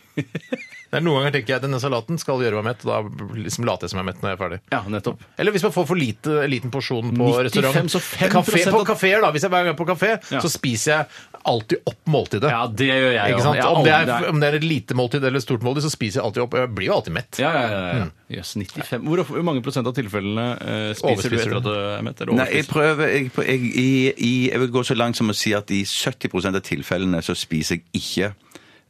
Det er Noen ganger tenker jeg at denne salaten skal gjøre meg mett, og da liksom later jeg som jeg er mett når jeg er ferdig.
Ja, nettopp.
Eller hvis man får for lite, liten porsjon på
95,
restaurant.
så 5%
Kafé, på
av-
kaféer, da. Hvis jeg hver gang er på kafé,
Ja.
så spiser jeg alltid opp måltidet.
Ja, det gjør jeg
Ikke
jo.
sant?
Jeg
Om, det
aldri-
er, om det er et lite måltid eller et stort måltid, så spiser jeg alltid opp. Jeg blir jo alltid mett.
Ja, ja, ja. ja. Jøss, 95. Hvor, hvor mange prosent av tilfellene eh, spiser du etter
Overspiser du?
at du er mett? Eller
Nei, jeg
overspiser?
prøver jeg, prø- jeg, i, i, jeg vil gå så langt som å si at i 70 av tilfellene så spiser jeg ikke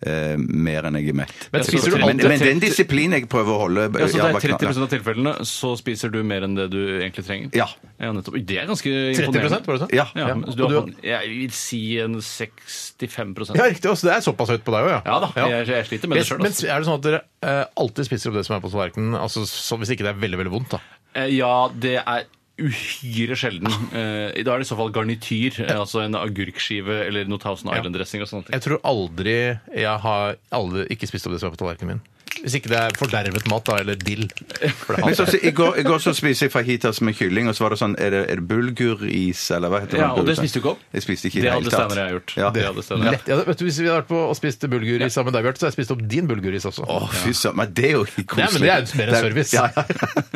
eh, mer enn jeg er mett.
Men spiser du
men,
alltid-
men den disiplinen jeg prøver å holde eh,
Ja, så det
ja,
er
bak-
30 av tilfellene, så spiser du mer enn det du egentlig trenger?
Ja.
ja nettopp. Det er ganske
30
imponerende.
var det sånn?
Ja.
Ja, men du
Og
har,
du-
jeg vil si en 65
Ja, riktig. Også, det er såpass høyt på deg òg, ja.
Ja da, jeg- jeg sliter med det selv,
Men
altså.
er det sånn at dere eh, alltid spiser opp det som er på tallerkenen? Altså, så hvis ikke det er veldig veldig vondt, da.
Eh, Ja, det er uhyre sjelden. Eh, Da er det i så fall garnityr, eh, altså en agurkskive eller noe Thousand Island-dressing og sånne ting.
Jeg tror aldri jeg har aldri ikke spist opp det som er på tallerkenen min. Hvis ikke det er fordervet mat, da, eller dill. For det
Men
hater
så,
jeg.
så, I går, i går så spiste jeg fajitas med kylling, og så var det sånn Er det, er det bulguris, eller hva heter
Ja,
det?
og det spiste du ikke opp?
Jeg spiste ikke i
Det
hele
hadde
tatt.
Steinar og jeg gjort.
Ja.
Det hadde Steinar og jeg.
Lett. Ja, vet du, hvis vi hadde vært på og spist bulguris sammen med deg, Bjarte, så hadde jeg spist opp din bulguris også.
Å, fy søren. Men det er jo ikke
Nei, men
koselig.
det er jo mer en service.
Ja, ja.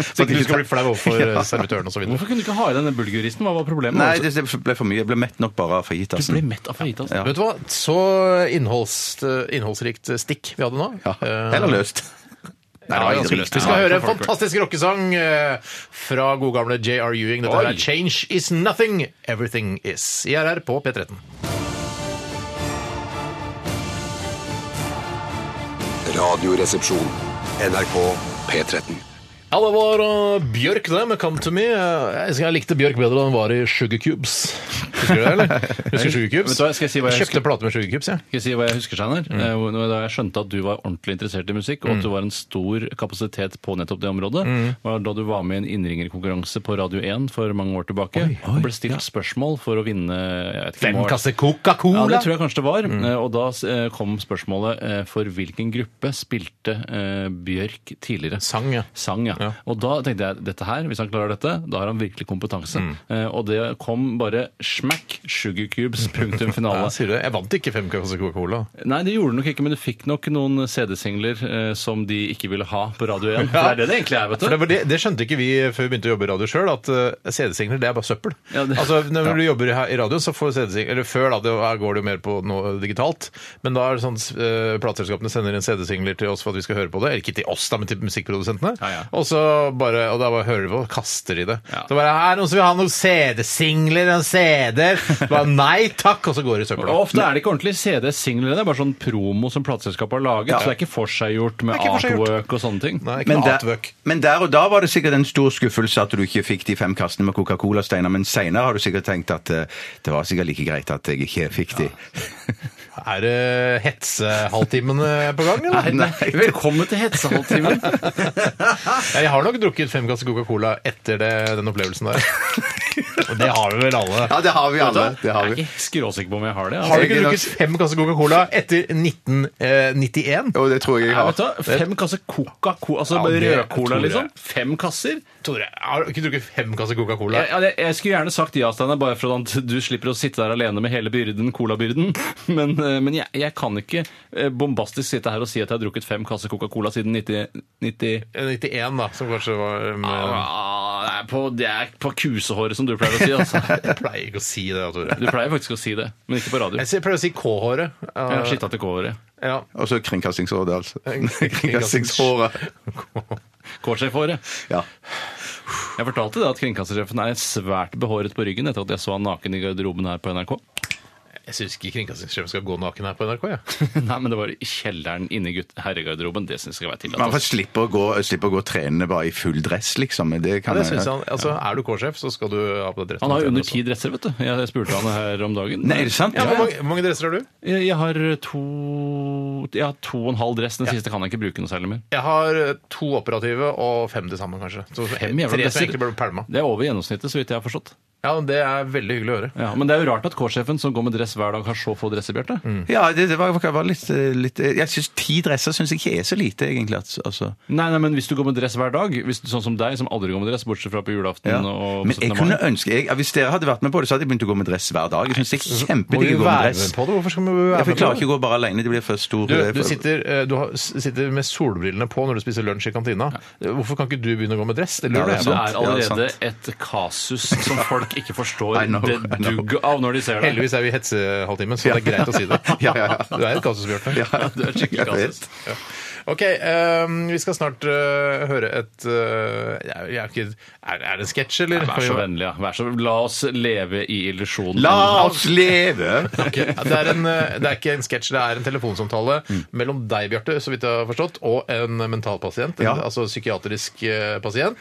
Så ikke du skal bli flau overfor eh, servitøren og så videre.
Hvorfor kunne du ikke ha i deg denne bulgurisen? Hva var problemet?
Nei, det det ble for mye. Jeg ble mett nok bare av
Du
fajitasen.
ble mett av fajitas.
Ja.
Vet du hva? Så innholds, eh, innholdsrikt stikk vi hadde nå.
Ja.
Eh,
Eller løst. Nei, det var ganske løst.
Vi skal
Ja,
høre en
for folk.
fantastisk rockesang eh, fra god gamle J.R. Ewing. Dette
Oi.
her er 'Change Is Nothing, Everything Is'. I RR på P13.
Radioresepsjon. NRK P13.
Ja, det var uh, Bjørk, det, med 'Come to Me'. Eh, Jeg, husker jeg likte Bjørk bedre da hun var i Sugar Cubes. Husker du det, eller? Husker Sugar Cubes?
Vet du hva, skal jeg si hva jeg
kjøpte plate med Sugar Cubes, jeg.
Skal jeg si hva jeg husker, Steinar?
Mm.
Eh, hvor- Da jeg skjønte at du var ordentlig interessert i musikk, og at du var en stor kapasitet på nettopp det området,
Mm.
var da du var med i en innringerkonkurranse på Radio 1 for mange år tilbake. og ble stilt spørsmål for å vinne jeg vet ikke, om det var- Ja,
Coca-Cola?
det tror jeg kanskje det var.
Mm.
Eh, Og da eh, kom spørsmålet eh, for hvilken gruppe spilte eh, Bjørk tidligere.
Sang, ja.
Sang, ja.
Ja.
Og da tenkte jeg dette her, hvis han klarer dette, da har han virkelig kompetanse.
Mm.
Eh, og det kom bare smack sugar cubes, punktum finale.
Ja, sier du det? Jeg vant ikke fem kasser Coca-Cola.
Nei, det gjorde det nok ikke, men du fikk nok noen CD-singler eh, som de ikke ville ha på Radio 1. For det er det det egentlig er, vet
For det,
du.
var det, det skjønte ikke vi før vi begynte å jobbe i radio sjøl, at eh, CD-signaler det er bare søppel.
Ja, det-
altså, når du jobber her i radio, så får CD-signaler Eller før, da, det var- går det jo mer på noe digitalt. Men da er det sånn uh, plateselskapene sender inn CD-singler til oss for at vi skal høre på det. Eller ikke til oss, da, men til musikkprodusentene.
Ja, ja.
Og så bare Og da bare hører vi på og kaster i det.
Ja.
Så bare Her, noen som vil ha noen CD-singler, noen CD-er. Bare nei takk, og så går det i søpla.
Og ofte er det ikke ordentlig CD-singler, det er bare sånn promo som plateselskapet har laget. Så det er ikke forseggjort med
Det er ikke forseggjort.
artwork og sånne ting.
Nei, ikke
Men
noe
der,
atvøk.
men der og da var det sikkert en stor skuffelse at du ikke fikk de fem kassene med Coca-Cola, Steinar. Men seinere har du sikkert tenkt at eh, det var sikkert like greit at jeg ikke fikk de.
Er det hetsehalvtimene på gang, eller?
Velkommen til Hetsehalvtimen.
Ja, Jeg har nok drukket fem glass Coca-Cola etter det, den opplevelsen der. Og det har vi vel alle.
Ja, det har vi alle. Det har
Jeg er
vi.
ikke skråsikker på om jeg har det. altså.
Har du ikke drukket fem kasser Coca-Cola etter eh, 1991?
Og det tror jeg jeg
Ja,
har.
vet du, hva? fem kasser Coca-Cola, altså
Ja, det tror
rød-cola,
jeg.
liksom. Fem kasser?
Tore, har du ikke drukket fem kasser Coca-Cola?
Jeg, jeg, jeg skulle gjerne sagt ja, Steinar, bare for at du slipper å sitte der alene med hele byrden, colabyrden. Men, eh, men jeg, jeg kan ikke eh, bombastisk sitte her og si at jeg har drukket fem kasser Coca-Cola siden 90... 90
91, da, som kanskje var eh, med,
ah, det, er på, det er på kusehåret, som du pleier å si. Altså.
Jeg pleier ikke å si det, Tore.
Du pleier faktisk å si det, men ikke på radio.
Jeg sier- pleier å si K-håret.
Jeg har skittet til K-håret.
ja.
Og så kringkastingsrådet, altså.
Kringkastings-
Kringkastingshåret.
K-sjefhåret.
Ja.
Jeg fortalte det at kringkastersjefen er svært behåret på ryggen etter at jeg så han naken i garderoben her på NRK.
Jeg syns ikke kringkastingssjefen skal gå naken her på NRK. Ja.
Nei, men det var i kjelleren inne i gutt- herregarderoben. Det syns jeg skal være tillatt.
Man får
altså.
slippe å gå, slippe å gå trenende bare i full dress, liksom. Det kan
Det synes han, altså, er du K-sjef, så skal du ha på deg dressen.
Han har jo under
også.
ti dresser, vet du. Jeg spurte han her om dagen.
Nei, er det sant?
Ja, hvor,
Ja,
mange, hvor mange dresser har du?
jeg, jeg har to Jeg har to og en halv dress. Den siste kan jeg ikke bruke noe særlig mer.
Jeg har eh, to operative og fem til sammen, kanskje. Så
Fem jævla
tre som
dresser.
egentlig ble pælma.
Det er over gjennomsnittet, så vidt jeg har forstått.
Ja, det er veldig hyggelig å høre.
Ja, men det er jo rart at K-sjefen, som går med dress hver dag, har så få dresser, Bjarte.
Ja, det, det var, var litt, eh, litt eh, Jeg syns ti dresser synes jeg ikke er så lite, egentlig. at- Altså.
Nei, nei, men hvis du går med dress hver dag, hvis du, sånn som deg, som aldri går med dress, bortsett fra på julaften
Ja.
og
Men
på 17.
jeg
mai.
kunne ønske jeg, Hvis dere hadde vært med på det, så hadde jeg begynt å gå med dress hver dag. Jeg synes det er kjempedigg å gå med dress.
på det? Hvorfor skal vi være
Jeg
med på
klarer
det?
ikke å gå bare alene. Det blir for stor
Du, du, sitter, eh, du har, s- sitter med solbrillene på når du spiser lunsj i kantina. Hvorfor kan ikke du begynne å gå med dress? Det
Ja,
lurer
det
jeg
Altså, Det
på.
sant. Ja, det er
er allerede et kasus som folk ikke forstår
I know,
det
I know.
dugg av når de ser det.
Heldigvis er vi i hetsehalvtimen, så det er greit å si det.
Ja, ja, ja.
Du er et kasus, Bjarte.
Ja,
Det er skikkelig
jeg vet.
kasus.
Ja. Ok, ehm, vi skal snart eh, høre et eh, jeg, jeg er, ikke, er, er det en sketsj, eller?
Vær så vennlig, ja. Vær så, la oss leve i illusjonen.
La oss leve!
Ok, Det, er en, eh, det er ikke en sketsj, det er en telefonsamtale mellom deg, Bjarte, så vidt jeg har forstått, og en mentalpasient, en,
Ja.
altså psykiatrisk eh, pasient,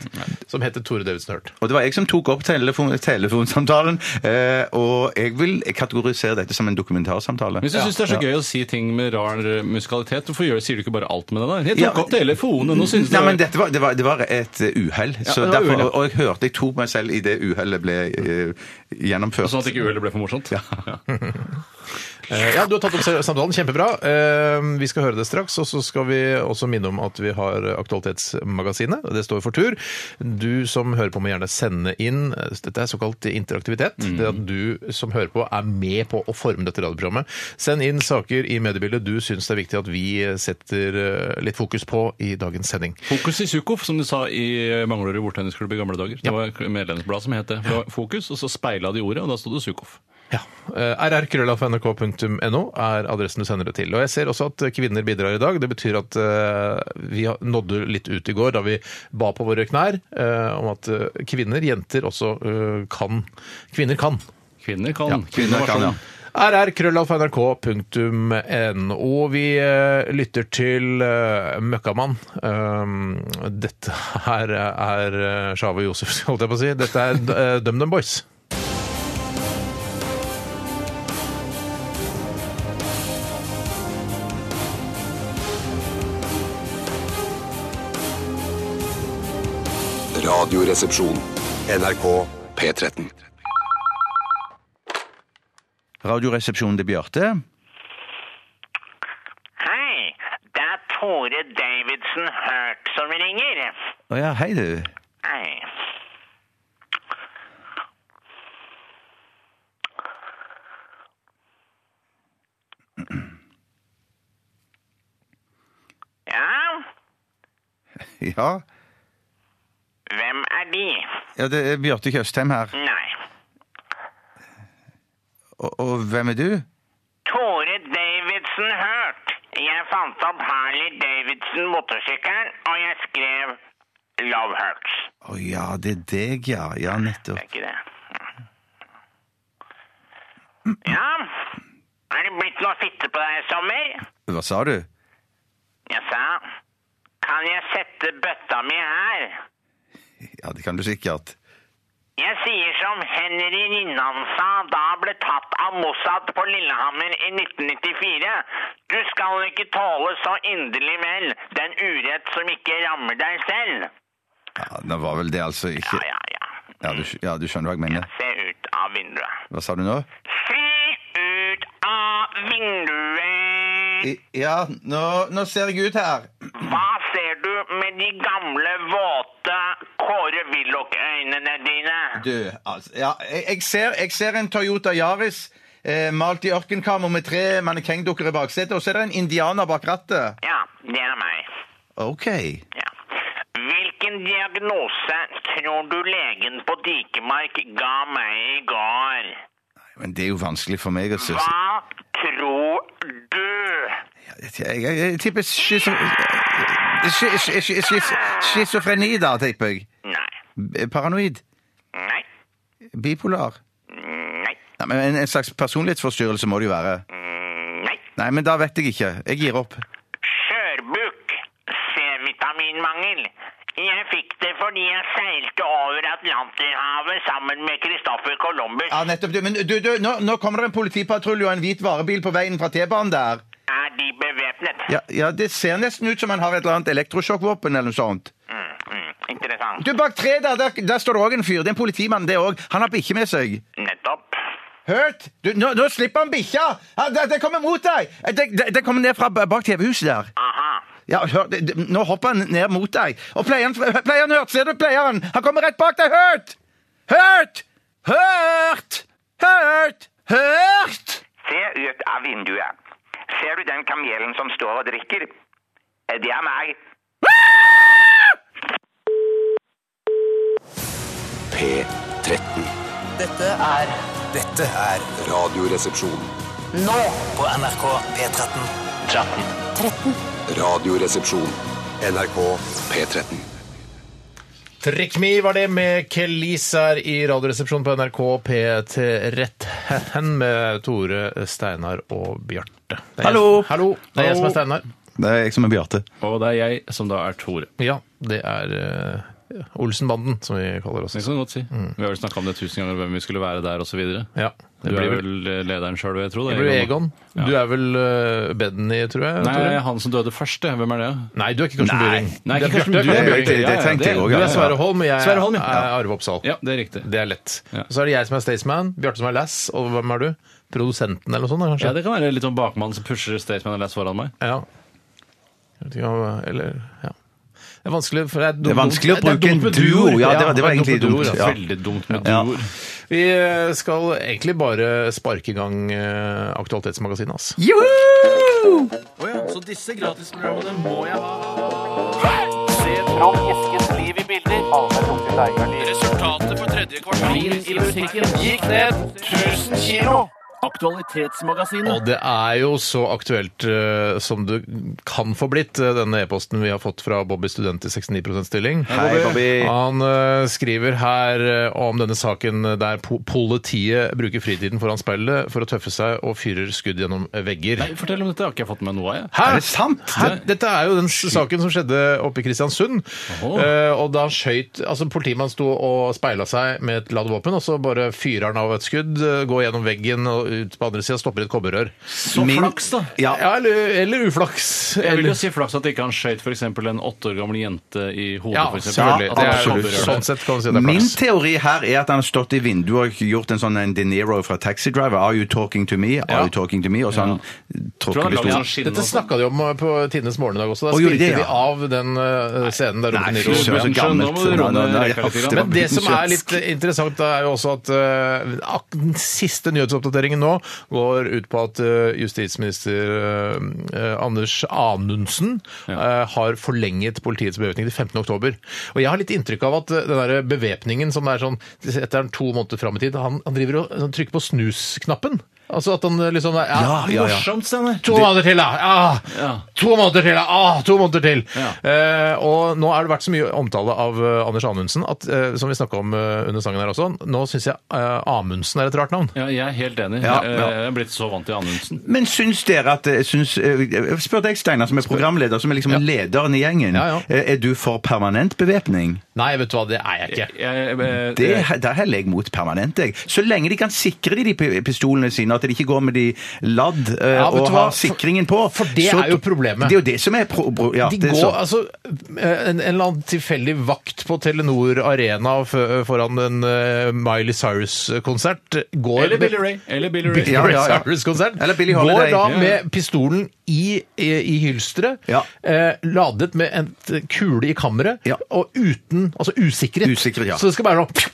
som heter Tore Davidsen Hørt.
Og det var jeg som tok opp telefon, telefonsamtalen. Eh, og jeg vil kategorisere dette som en dokumentarsamtale.
Hvis du syns det er så gøy å si ting med rar eh, musikalitet, hvorfor gjør, sier du ikke bare alt med det der? Jeg tok
Ja.
opp telefonen, nå syns du
Nei, men dette var, det, var, det var et eh, uhell. så
det var
derfor-
uhell, ja.
og, og jeg hørte jeg tok meg selv i det uhellet ble eh, gjennomført.
Sånn at ikke uhellet ble for morsomt? Ja.
Eh, Ja, du har tatt opp samtalen, kjempebra. Eh, Vi skal høre det straks, og så skal vi også minne om at vi har Aktualitetsmagasinet. Det står for tur. Du som hører på må gjerne sende inn eh, Dette er såkalt interaktivitet. Det at du som hører på er med på å forme dette radioprogrammet. Send inn saker i mediebildet du syns det er viktig at vi setter eh, litt fokus på i dagens sending.
Fokus i Sukhof, som de sa i Manglerud bordtennisklubb i gamle dager. Det var et medlemsblad som het det. For det var Fokus, og så speila de ordet, og da sto det Sukhof.
Ja. eh, rrkrøllalfa.nrk.no er adressen du sender det til. Og jeg ser også at kvinner bidrar i dag. Det betyr at eh, vi har- nådde litt ut i går da vi ba på våre knær eh, om at eh, kvinner, jenter, også eh, kan. Kvinner kan.
Kvinner kan.
Ja,
kvinner
kan,
var
ja.
sånn.
rr.krøllalfa.nrk.no. Vi eh, lytter til eh, Møkkamann. Um, dette her er eh, Sjave Josefs, holdt jeg på å si. Dette er eh, DumDum Boys.
Radioresepsjon. NRK P13.
Radioresepsjonen til Bjarte.
Hei, det er Tore Davidsen Hurt som ringer.
Å ja, hei du.
Hei. Ja,
Ja,
hvem er de?
ja det er Bjarte Tjøstheim her.
Nei.
Og, og hvem er du?
Tore Davidsen Hurt. Jeg fant opp Harley Davidson motorsykkelen, og jeg skrev Love Hurts.
Å ja, det er deg, ja. Ja, nettopp.
Det er ikke det. Ja, er det blitt noe fitte på deg i sommer?
Hva sa du?
Jeg sa, kan jeg sette bøtta mi her?
Ja, det kan du sikkert.
Jeg sier som Henry Rinnan sa da han ble tatt av Mossad på Lillehammer i 1994. Du skal ikke tåle så inderlig vel den urett som ikke rammer deg selv.
Ja, det var vel det altså ikke
Ja, ja, ja.
Ja, du, skj- ja, du skjønner hva jeg mener.
Se ut av vinduet.
Hva sa du nå?
Se ut av vinduet!
I, ja, nå, nå ser jeg ut her.
Hva ser du med de gamle, våte Kåre Willoch-øynene dine?
Du, altså Ja, jeg, jeg, ser, jeg ser en Toyota Yaris eh, malt i ørkenkammer med tre mannekengdukker i baksetet, og så er det en indianer bak rattet.
Ja, det er meg.
OK.
Ja. Hvilken diagnose tror du legen på Dikemark ga meg i går?
Men det er jo vanskelig for meg å si.
Hva tror du?
Jeg, jeg, jeg tipper schizo- schi- schi- schi- schi- schizofreni, da, tipper jeg.
Nei.
B- Paranoid.
Nei.
Bipolar.
Nei.
Nei, men en, en slags personlighetsforstyrrelse må det jo være.
Nei.
Nei, men da vet jeg ikke. Jeg gir opp.
Skjørbukk. C-vitaminmangel. Jeg fikk det fordi jeg seilte over Atlanterhavet sammen med Christopher Columbus.
Ja, nettopp. Du, men du, du, nå, nå kommer det en politipatrulje og en hvit varebil på veien fra T-banen der.
Er de bevæpnet?
Ja, ja, det ser nesten ut som han har et eller annet elektrosjokkvåpen eller noe sånt.
Mm, mm, interessant.
Du, bak treet der, der, der står det òg en fyr. Det er en politimann, det òg. Han har bikkje med seg.
Nettopp.
Hørt? Du, nå, nå slipper han bikkja! Ja, det, det kommer mot deg! Det, det, det kommer ned fra b- bak TV-huset der.
Aha.
Ja, hør, det, det, nå hopper han ned mot deg. Og pleieren, pleieren hørt, ser du pleieren? Han kommer rett bak deg. Hørt! Hørt! Hørt! Hørt! Hørt!
Se ut av vinduet. Ser du den kamelen som står og drikker? Eh, Det er meg.
P13.
Dette er Dette er
Radioresepsjon.
nå på NRK P13.
Radioresepsjon. NRK P13.
Trekk me var det med Kelis her i Radioresepsjonen på NRK P13 med Tore, Steinar og Bjarte. Det er jeg-
Hallo.
Hallo! Det er jeg som er Steinar.
Det er jeg som er Bjarte.
Og det er jeg som da er Tore.
Ja, det er eh, Olsenbanden, som vi kaller oss.
Det kan du godt si.
Mm.
Vi har vel snakka om det tusen ganger, hvem vi skulle være der osv.
Ja,
Du
det blir
er
vel
vel lederen sjøl, vil jeg tro. da,
det blir Egon.
Ja.
Du er vel eh, Bedny, tror jeg?
Nei,
Tore?
han som døde først, det. hvem er det?
Nei, du er ikke Karsten Byring.
Nei,
Du er
ikke Karsten
Bjarte.
Bjørn.
Bjørn. Det- det
Ja, ja,
tenkte jeg også,
Du
ja.
er Sverre Holm, og jeg
Sverre Holm, ja.
er Arve Oppsal.
Ja, det er riktig.
Det er lett.
Ja.
Så er det jeg som er Staysman, Bjarte som er Lass, og hvem er du? Produsenten eller noe sånt, da, kanskje?
Ja, det kan være litt sånn bakmann som pusher Staysman og Lass foran meg.
Ja. Jeg vet ikke om- Eller ja. Det er vanskelig, for det er, dumt-
Det er vanskelig å
det er
bruke en
dumt med
duo.
duoer,
Ja, det var, det var
er
egentlig
dumt med
dumt.
duoer,
Ja.
altså.
Veldig dumt med
Ja.
duoer.
Vi eh, skal egentlig bare sparke i gang eh, Aktualitetsmagasinet, altså.
Så disse gratisprogrammene må jeg ha. Se fram Eskens liv i bilder. Resultatet på tredje kvartal i musikken gikk ned 1000 kilo.
Og det er jo så aktuelt eh, som det kan få blitt, eh, denne e-posten vi har fått fra Bobby Student i 69 stilling.
Hei, Bobby.
Han eh, skriver her eh, om denne saken der po politiet bruker fritiden foran speilet for å tøffe seg og fyrer skudd gjennom vegger.
Nei, fortell om dette. Har ikke jeg fått med noe av, jeg.
Hæ?
Er det sant?
Hæ? Dette er jo den s- saken som skjedde oppe i Kristiansund.
Åhå.
Eh, og da han skøyt Altså, politimannen sto og speila seg med et ladd våpen, og så bare fyrer han av et skudd, eh, går gjennom veggen og ut på andre sida, stopper i et kobberrør.
Så
Min-
flaks, da!
Ja.
Ja, eller, eller uflaks.
Jeg vil
Eller-
jo si flaks at ikke han skøyt f.eks. en åtte år gammel jente i hodet.
ja,
for eksempel.
selvfølgelig.
At
Det
han
er,
kobber
absolutt.
i øret.
sånn sett kan man si det er
Min
flaks.
teori her er at han har stått i vinduet og gjort en sånn en De Niro fra Taxi Driver. Are you talking to me? Are
Ja.
you talking to me? Og sånn så han
Tror
tråkker
han lager
pistolen.
sånn skinn
Dette
og sånn.
snakka de om eh, på Tidenes morgen i dag også. Da
Å,
spilte
gjorde de det, ja?
de av den eh, scenen der Robert
Nei,
De
fy
Niro
søren.
så gammelt.
Nå må du roe ned
Nei, nei,
rekka litt
uff,
grann.
det var
Men det som er
svensk.
litt eh, interessant, da, er jo også at eh, ak- den siste nyhetsoppdateringen nå går ut på at eh, justisminister eh, eh, Anders Anundsen eh, har forlenget politiets bevæpning til 15. oktober. Og jeg har litt inntrykk av at eh, den der bevæpningen som er sånn etter en to måneder fram i tid, han, han driver og han trykker på snusknappen. Altså at han eh, liksom er,
Ja, ja, ja.
Morsomt, Steinar.
To måneder til, da! Ah,
Ja.
To måneder til, da! Ah, to måneder til!
Ja.
Eh, og nå er det vært så mye omtale av eh, Anders Anundsen, at, eh, som vi snakka om eh, under sangen her også. Nå syns jeg eh, Amundsen er et rart navn.
Ja, jeg er helt enig.
Ja,
Jeg-
ja.
Jeg er blitt så vant til Anundsen.
Men syns dere at eh, syns, eh, Spør deg, Steinar, som er programleder, som er liksom lederen i gjengen.
Ja, ja.
Eh, Er du for permanent bevæpning?
Nei, vet du hva, det er jeg
Jeg,
ikke.
jeg, jeg,
Det, der heller jeg mot permanent, jeg. Så lenge de kan sikre de, de pi- pistolene sine, at de ikke går med de ladd eh,
Ja, vet
og
du hva?
har sikringen på.
For- for det
så-
er jo problemet.
Det er jo det som er pro... pro ja,
De
det er
går
så.
altså eh, en, en eller annen tilfeldig vakt på Telenor Arena f- foran en eh, Miley Cyrus-konsert. går-
eller Billy Ray. Eller Billy Ray.
Ja, ja, ja.
Cyrus-konsert.
Eller Billie
Går
Holiday.
da
Ja,
ja.
med pistolen i, i, i hylsteret,
Ja.
eh, ladet med en t- kule i kammeret,
Ja.
og uten, altså usikret.
Usikret, ja.
Så det skal bare sånn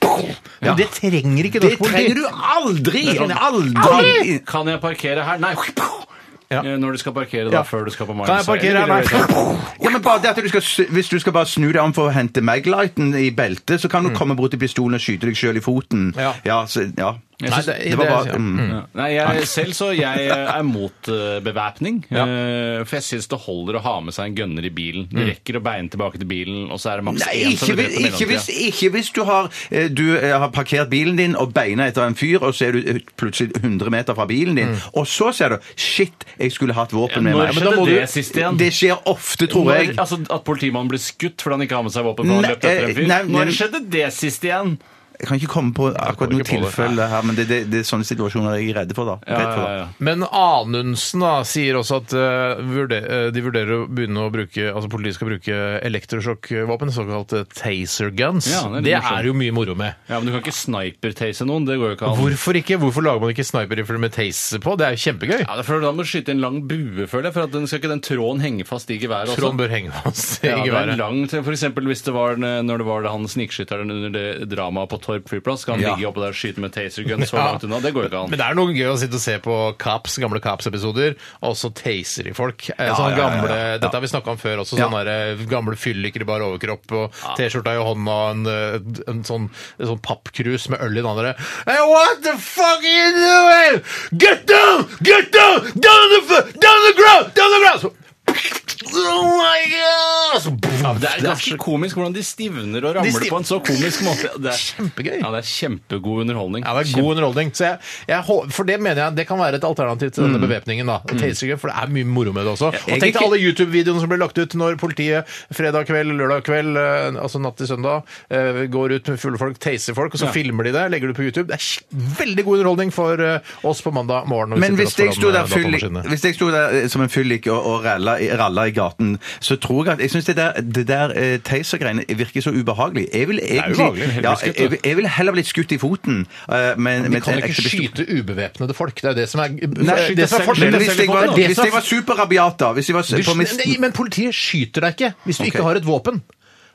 Ja.
Men det sånn, trenger ikke
Det
norsk politi.
trenger du aldri! Aldri!
Kan jeg parkere her? Nei!
Ja.
Eh, Når du skal parkere, da,
Ja.
før du skal på Mars.
Kan jeg parkere her? Nei.
Ja, men bare det at du skal, s- Hvis du skal bare snu deg om for å hente Maglighten i beltet, så kan du komme bort til pistolen og skyte deg sjøl i foten.
Mm. Ja.
så, ja.
Nei, det-
det var
det-
bare
ja.
mm.
Ja. Nei, jeg, selv så jeg er mot eh, bevæpning. eh, For jeg syns det holder å ha med seg en gønner i bilen. Du rekker å beine tilbake til bilen, og så er det maks
Mm. Nei,
én som
ikke,
blir
hvis-
drept i
ikke, hvis,
mellomtida.
ikke hvis du har, eh, du eh, har parkert bilen din og beina etter en fyr, og så er du eh, plutselig 100 meter fra bilen din,
Mm.
og så ser du Shit, jeg skulle hatt våpen med
Når
meg.
skjedde
må
det sist igjen?
Det skjer ofte, tror
Når,
jeg.
altså, at politimannen ble skutt fordi han ikke har med seg våpen? for han
Nei, eh,
løpte etter en fyr.
nei, nei.
Når skjedde det sist igjen?
Jeg kan ikke komme på akkurat noe
ikke på det.
tilfelle her, men det, det, det er sånne situasjoner jeg er redd for, da. Redd for, da.
Eh,
Men Anundsen da, sier også at eh, vurder, eh, de vurderer å begynne å bruke altså politiet skal bruke elektrosjokkvåpen, såkalte taser guns.
Ja, det er litt
det
morsomt.
er jo mye moro med.
Ja, Men du kan ikke sniper-tase noen. Det går jo ikke an.
Hvorfor ikke? Hvorfor lager man ikke sniperrifler med taser på? Det er jo kjempegøy.
Ja, det er for Da må du skyte en lang bue, føler jeg. For at den skal ikke den tråden henge fast i geværet. også?
Trond bør henge fast i
Ja, det er
geværet.
lang til, for eksempel hvis det var den- når det var det han snikskytteren under det dramaet på Torp flyplass, skal han
Ja.
ligge oppå der og skyte med taser gun så
Ja.
langt unna. Det går jo ikke an.
Men det er noe gøy å sitte og se på Caps, gamle Caps-episoder, og så taser de folk. Eh,
Ja, ja, ja,
sånne
ja,
gamle,
ja.
Dette har vi snakka om før også.
Ja.
Sånne der, eh, gamle fylliker i bar overkropp og T-skjorta i hånda og en, eh, en sånn, en sånn pappkrus med øl i den andre. Hey, what the fuck are you doing? Get down! Get down! Down the, fu- down the ground! Down the ground! Så, oh my god! Så,
Det er ganske komisk hvordan de stivner og
De
ramler
stiv-
på en så komisk måte. Det er
Kjempegøy.
Ja, det er kjempegod underholdning.
Ja, det er god underholdning. Så jeg, jeg, hå- for det mener jeg det kan være et alternativ til denne bevæpningen. da. Taser gun, for det er mye moro med det også. Og
Mm. jeg er
tenk
ikke-
til alle YouTube-videoene som blir lagt ut når politiet fredag kveld, lørdag kveld, eh, altså natt til søndag, eh, går ut med fulle folk, taser folk, og så filmer de det, legger det på YouTube. Det er kj- veldig god underholdning for eh, oss på mandag morgen. når vi
Men
sitter
hvis
oss foran,
jeg sto der,
eh,
fyllik,
datamaskinene.
hvis jeg sto der eh, som en fyllik og, og ralla, i- ralla i gaten, så tror jeg at Jeg syns det der, det der eh, Taser-greiene virker så ubehagelig. Jeg vil egentlig
ubehagelig, helt
ja,
beskutt,
jeg, jeg vil heller blitt skutt i foten. eh, Men,
De
men
kan
en
ikke
ekte pistol.
skyte ubevæpnede folk. Det er det som er,
Nei,
det som er
selv.
men
forskjellen.
det
hvis jeg var,
Det er det
hvis
som er-
jeg var superrabiat, da hvis jeg var
Du,
på
skyter-
misten-
nei, men politiet skyter deg ikke hvis du
Ok.
ikke har et våpen.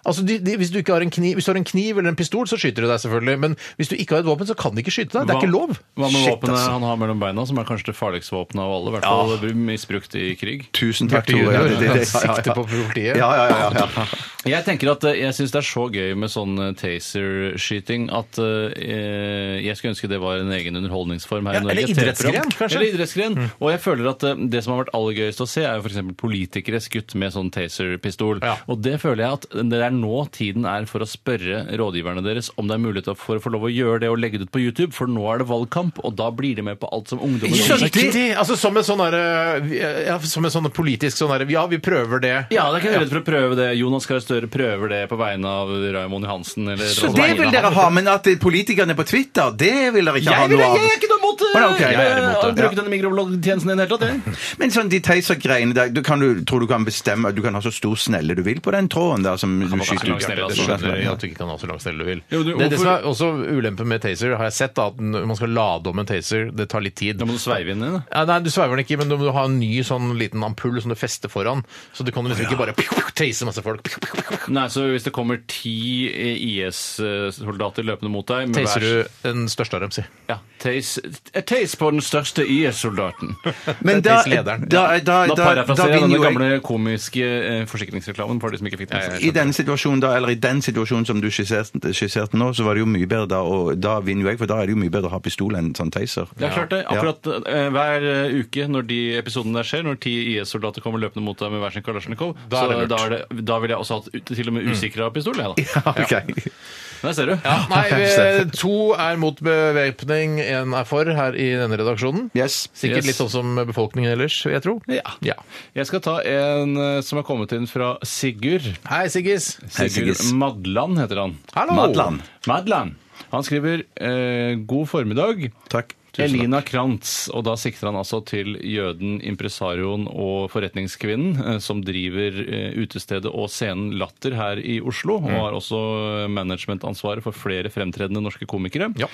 Altså, de, de, hvis, du ikke har en kniv, hvis du har en kniv eller en pistol, så skyter de deg selvfølgelig. Men hvis du ikke har et våpen, så kan de ikke skyte deg. Det er ikke lov.
Hva med
Shit,
våpenet
altså.
han har mellom beina, som er kanskje det farligste våpenet av alle? I hvert fall misbrukt i krig.
Tusen takk,
Bjarte
Tore.
Junior,
Ja, det- det-
han
ja, ja, ja.
sikter på politiet.
Ja, ja, ja, ja, ja.
Jeg tenker at eh, jeg syns det er så gøy med sånn eh, taser-skyting at eh, jeg skulle ønske det var en egen underholdningsform her
Ja,
i Norge.
eller idrettsgren,
TV-program.
kanskje?
Eller idrettsgren. Og jeg føler at eh, det som har vært aller gøyest å se, er jo f.eks. politikere skutt med sånn taser-pistol.
Ja.
Og det føler jeg at det er nå tiden er for å spørre rådgiverne deres om det er mulighet for å få lov å gjøre det og legge det ut på YouTube, for nå er det valgkamp, og da blir de med på alt som ungdommen
Riktig! Altså, som en sånn derre ja, Som en sånn politisk sånn derre Ja, vi prøver det.
Ja, det er ikke noe redd for å prøve det. Jonas Gahr Støre prøver det på vegne av Raymond Johansen. Eller
Så
på
det
vegne
vil
av
dere
han.
ha, men at politikerne på Twitter, det vil dere ikke ha
Jeg, vil,
noe
jeg er
av?
ikke noe mot det!
Å, nei, ok, jeg er imot det.
Jeg bruker
Ja.
denne mikrobloggtjenesten i det hele tatt. jeg.
Men sånn de Taser-greiene der, du, kan, du tror du kan bestemme Du kan ha så stor snelle du vil på den tråden der som du
ha så
skyter
lang
ut.
snelle,
Jeg
altså.
skjønner at du ikke kan ha så lang snelle du vil.
Jo, du,
det, det som
hvorfor-
er også ulempen med Taser, har jeg sett, da, at når man skal lade om en Taser, det tar litt tid.
Da må du sveive inn i det.
Ja, nei, du sveiver den ikke, men du må ha en ny sånn liten ampull som du fester foran. Så du kan liksom ikke bare piu, piu, tase masse folk. Piu, piu, piu.
Nei, så hvis det kommer ti IS-soldater løpende mot deg med
Taser
hver-
du den største av dem, si.
Ja, tase, eh, tase på den største IS-soldaten.
Men da, da,
Taser-lederen.
da, da, da,
Da parafraserer jeg
vinner
den
jo jeg.
gamle komiske eh, forsikringsreklamen for de som ikke fikk den.
I denne situasjonen da, eller i den situasjonen som du skisserte, skisserte nå, så var det jo mye bedre da, og da vinner jo jeg, for da er det jo mye bedre å ha pistol enn sånn taser.
Det er klart det. Akkurat eh, hver eh, uke når de episodene der skjer, når ti IS-soldater kommer løpende mot deg med hver sin Kalasjnikov,
Da er
så
det lurt.
da, er det, da vil jeg også ha hatt ut- til og med usikra pistol, jeg, da.
Ja, ok.
Der ser du.
Nei, vi, to er mot bevæpning, én er for her i denne redaksjoningen.
Yes.
Sikkert
Yes.
litt sånn som befolkningen ellers, vil jeg tro.
Ja.
Ja.
Jeg skal ta en eh, som er kommet inn fra Sigurd.
Hei, Siggis.
Hei,
Sigurd
Siggis.
Madland heter han.
Hallo.
Madland.
Madland. Han skriver eh, 'God formiddag'.
Takk.
Elina Krantz, og da sikter han altså til jøden, impresarioen og forretningskvinnen eh, som driver eh, utestedet og scenen Latter her i Oslo, og har også eh, managementansvaret for flere fremtredende norske komikere.
Ja.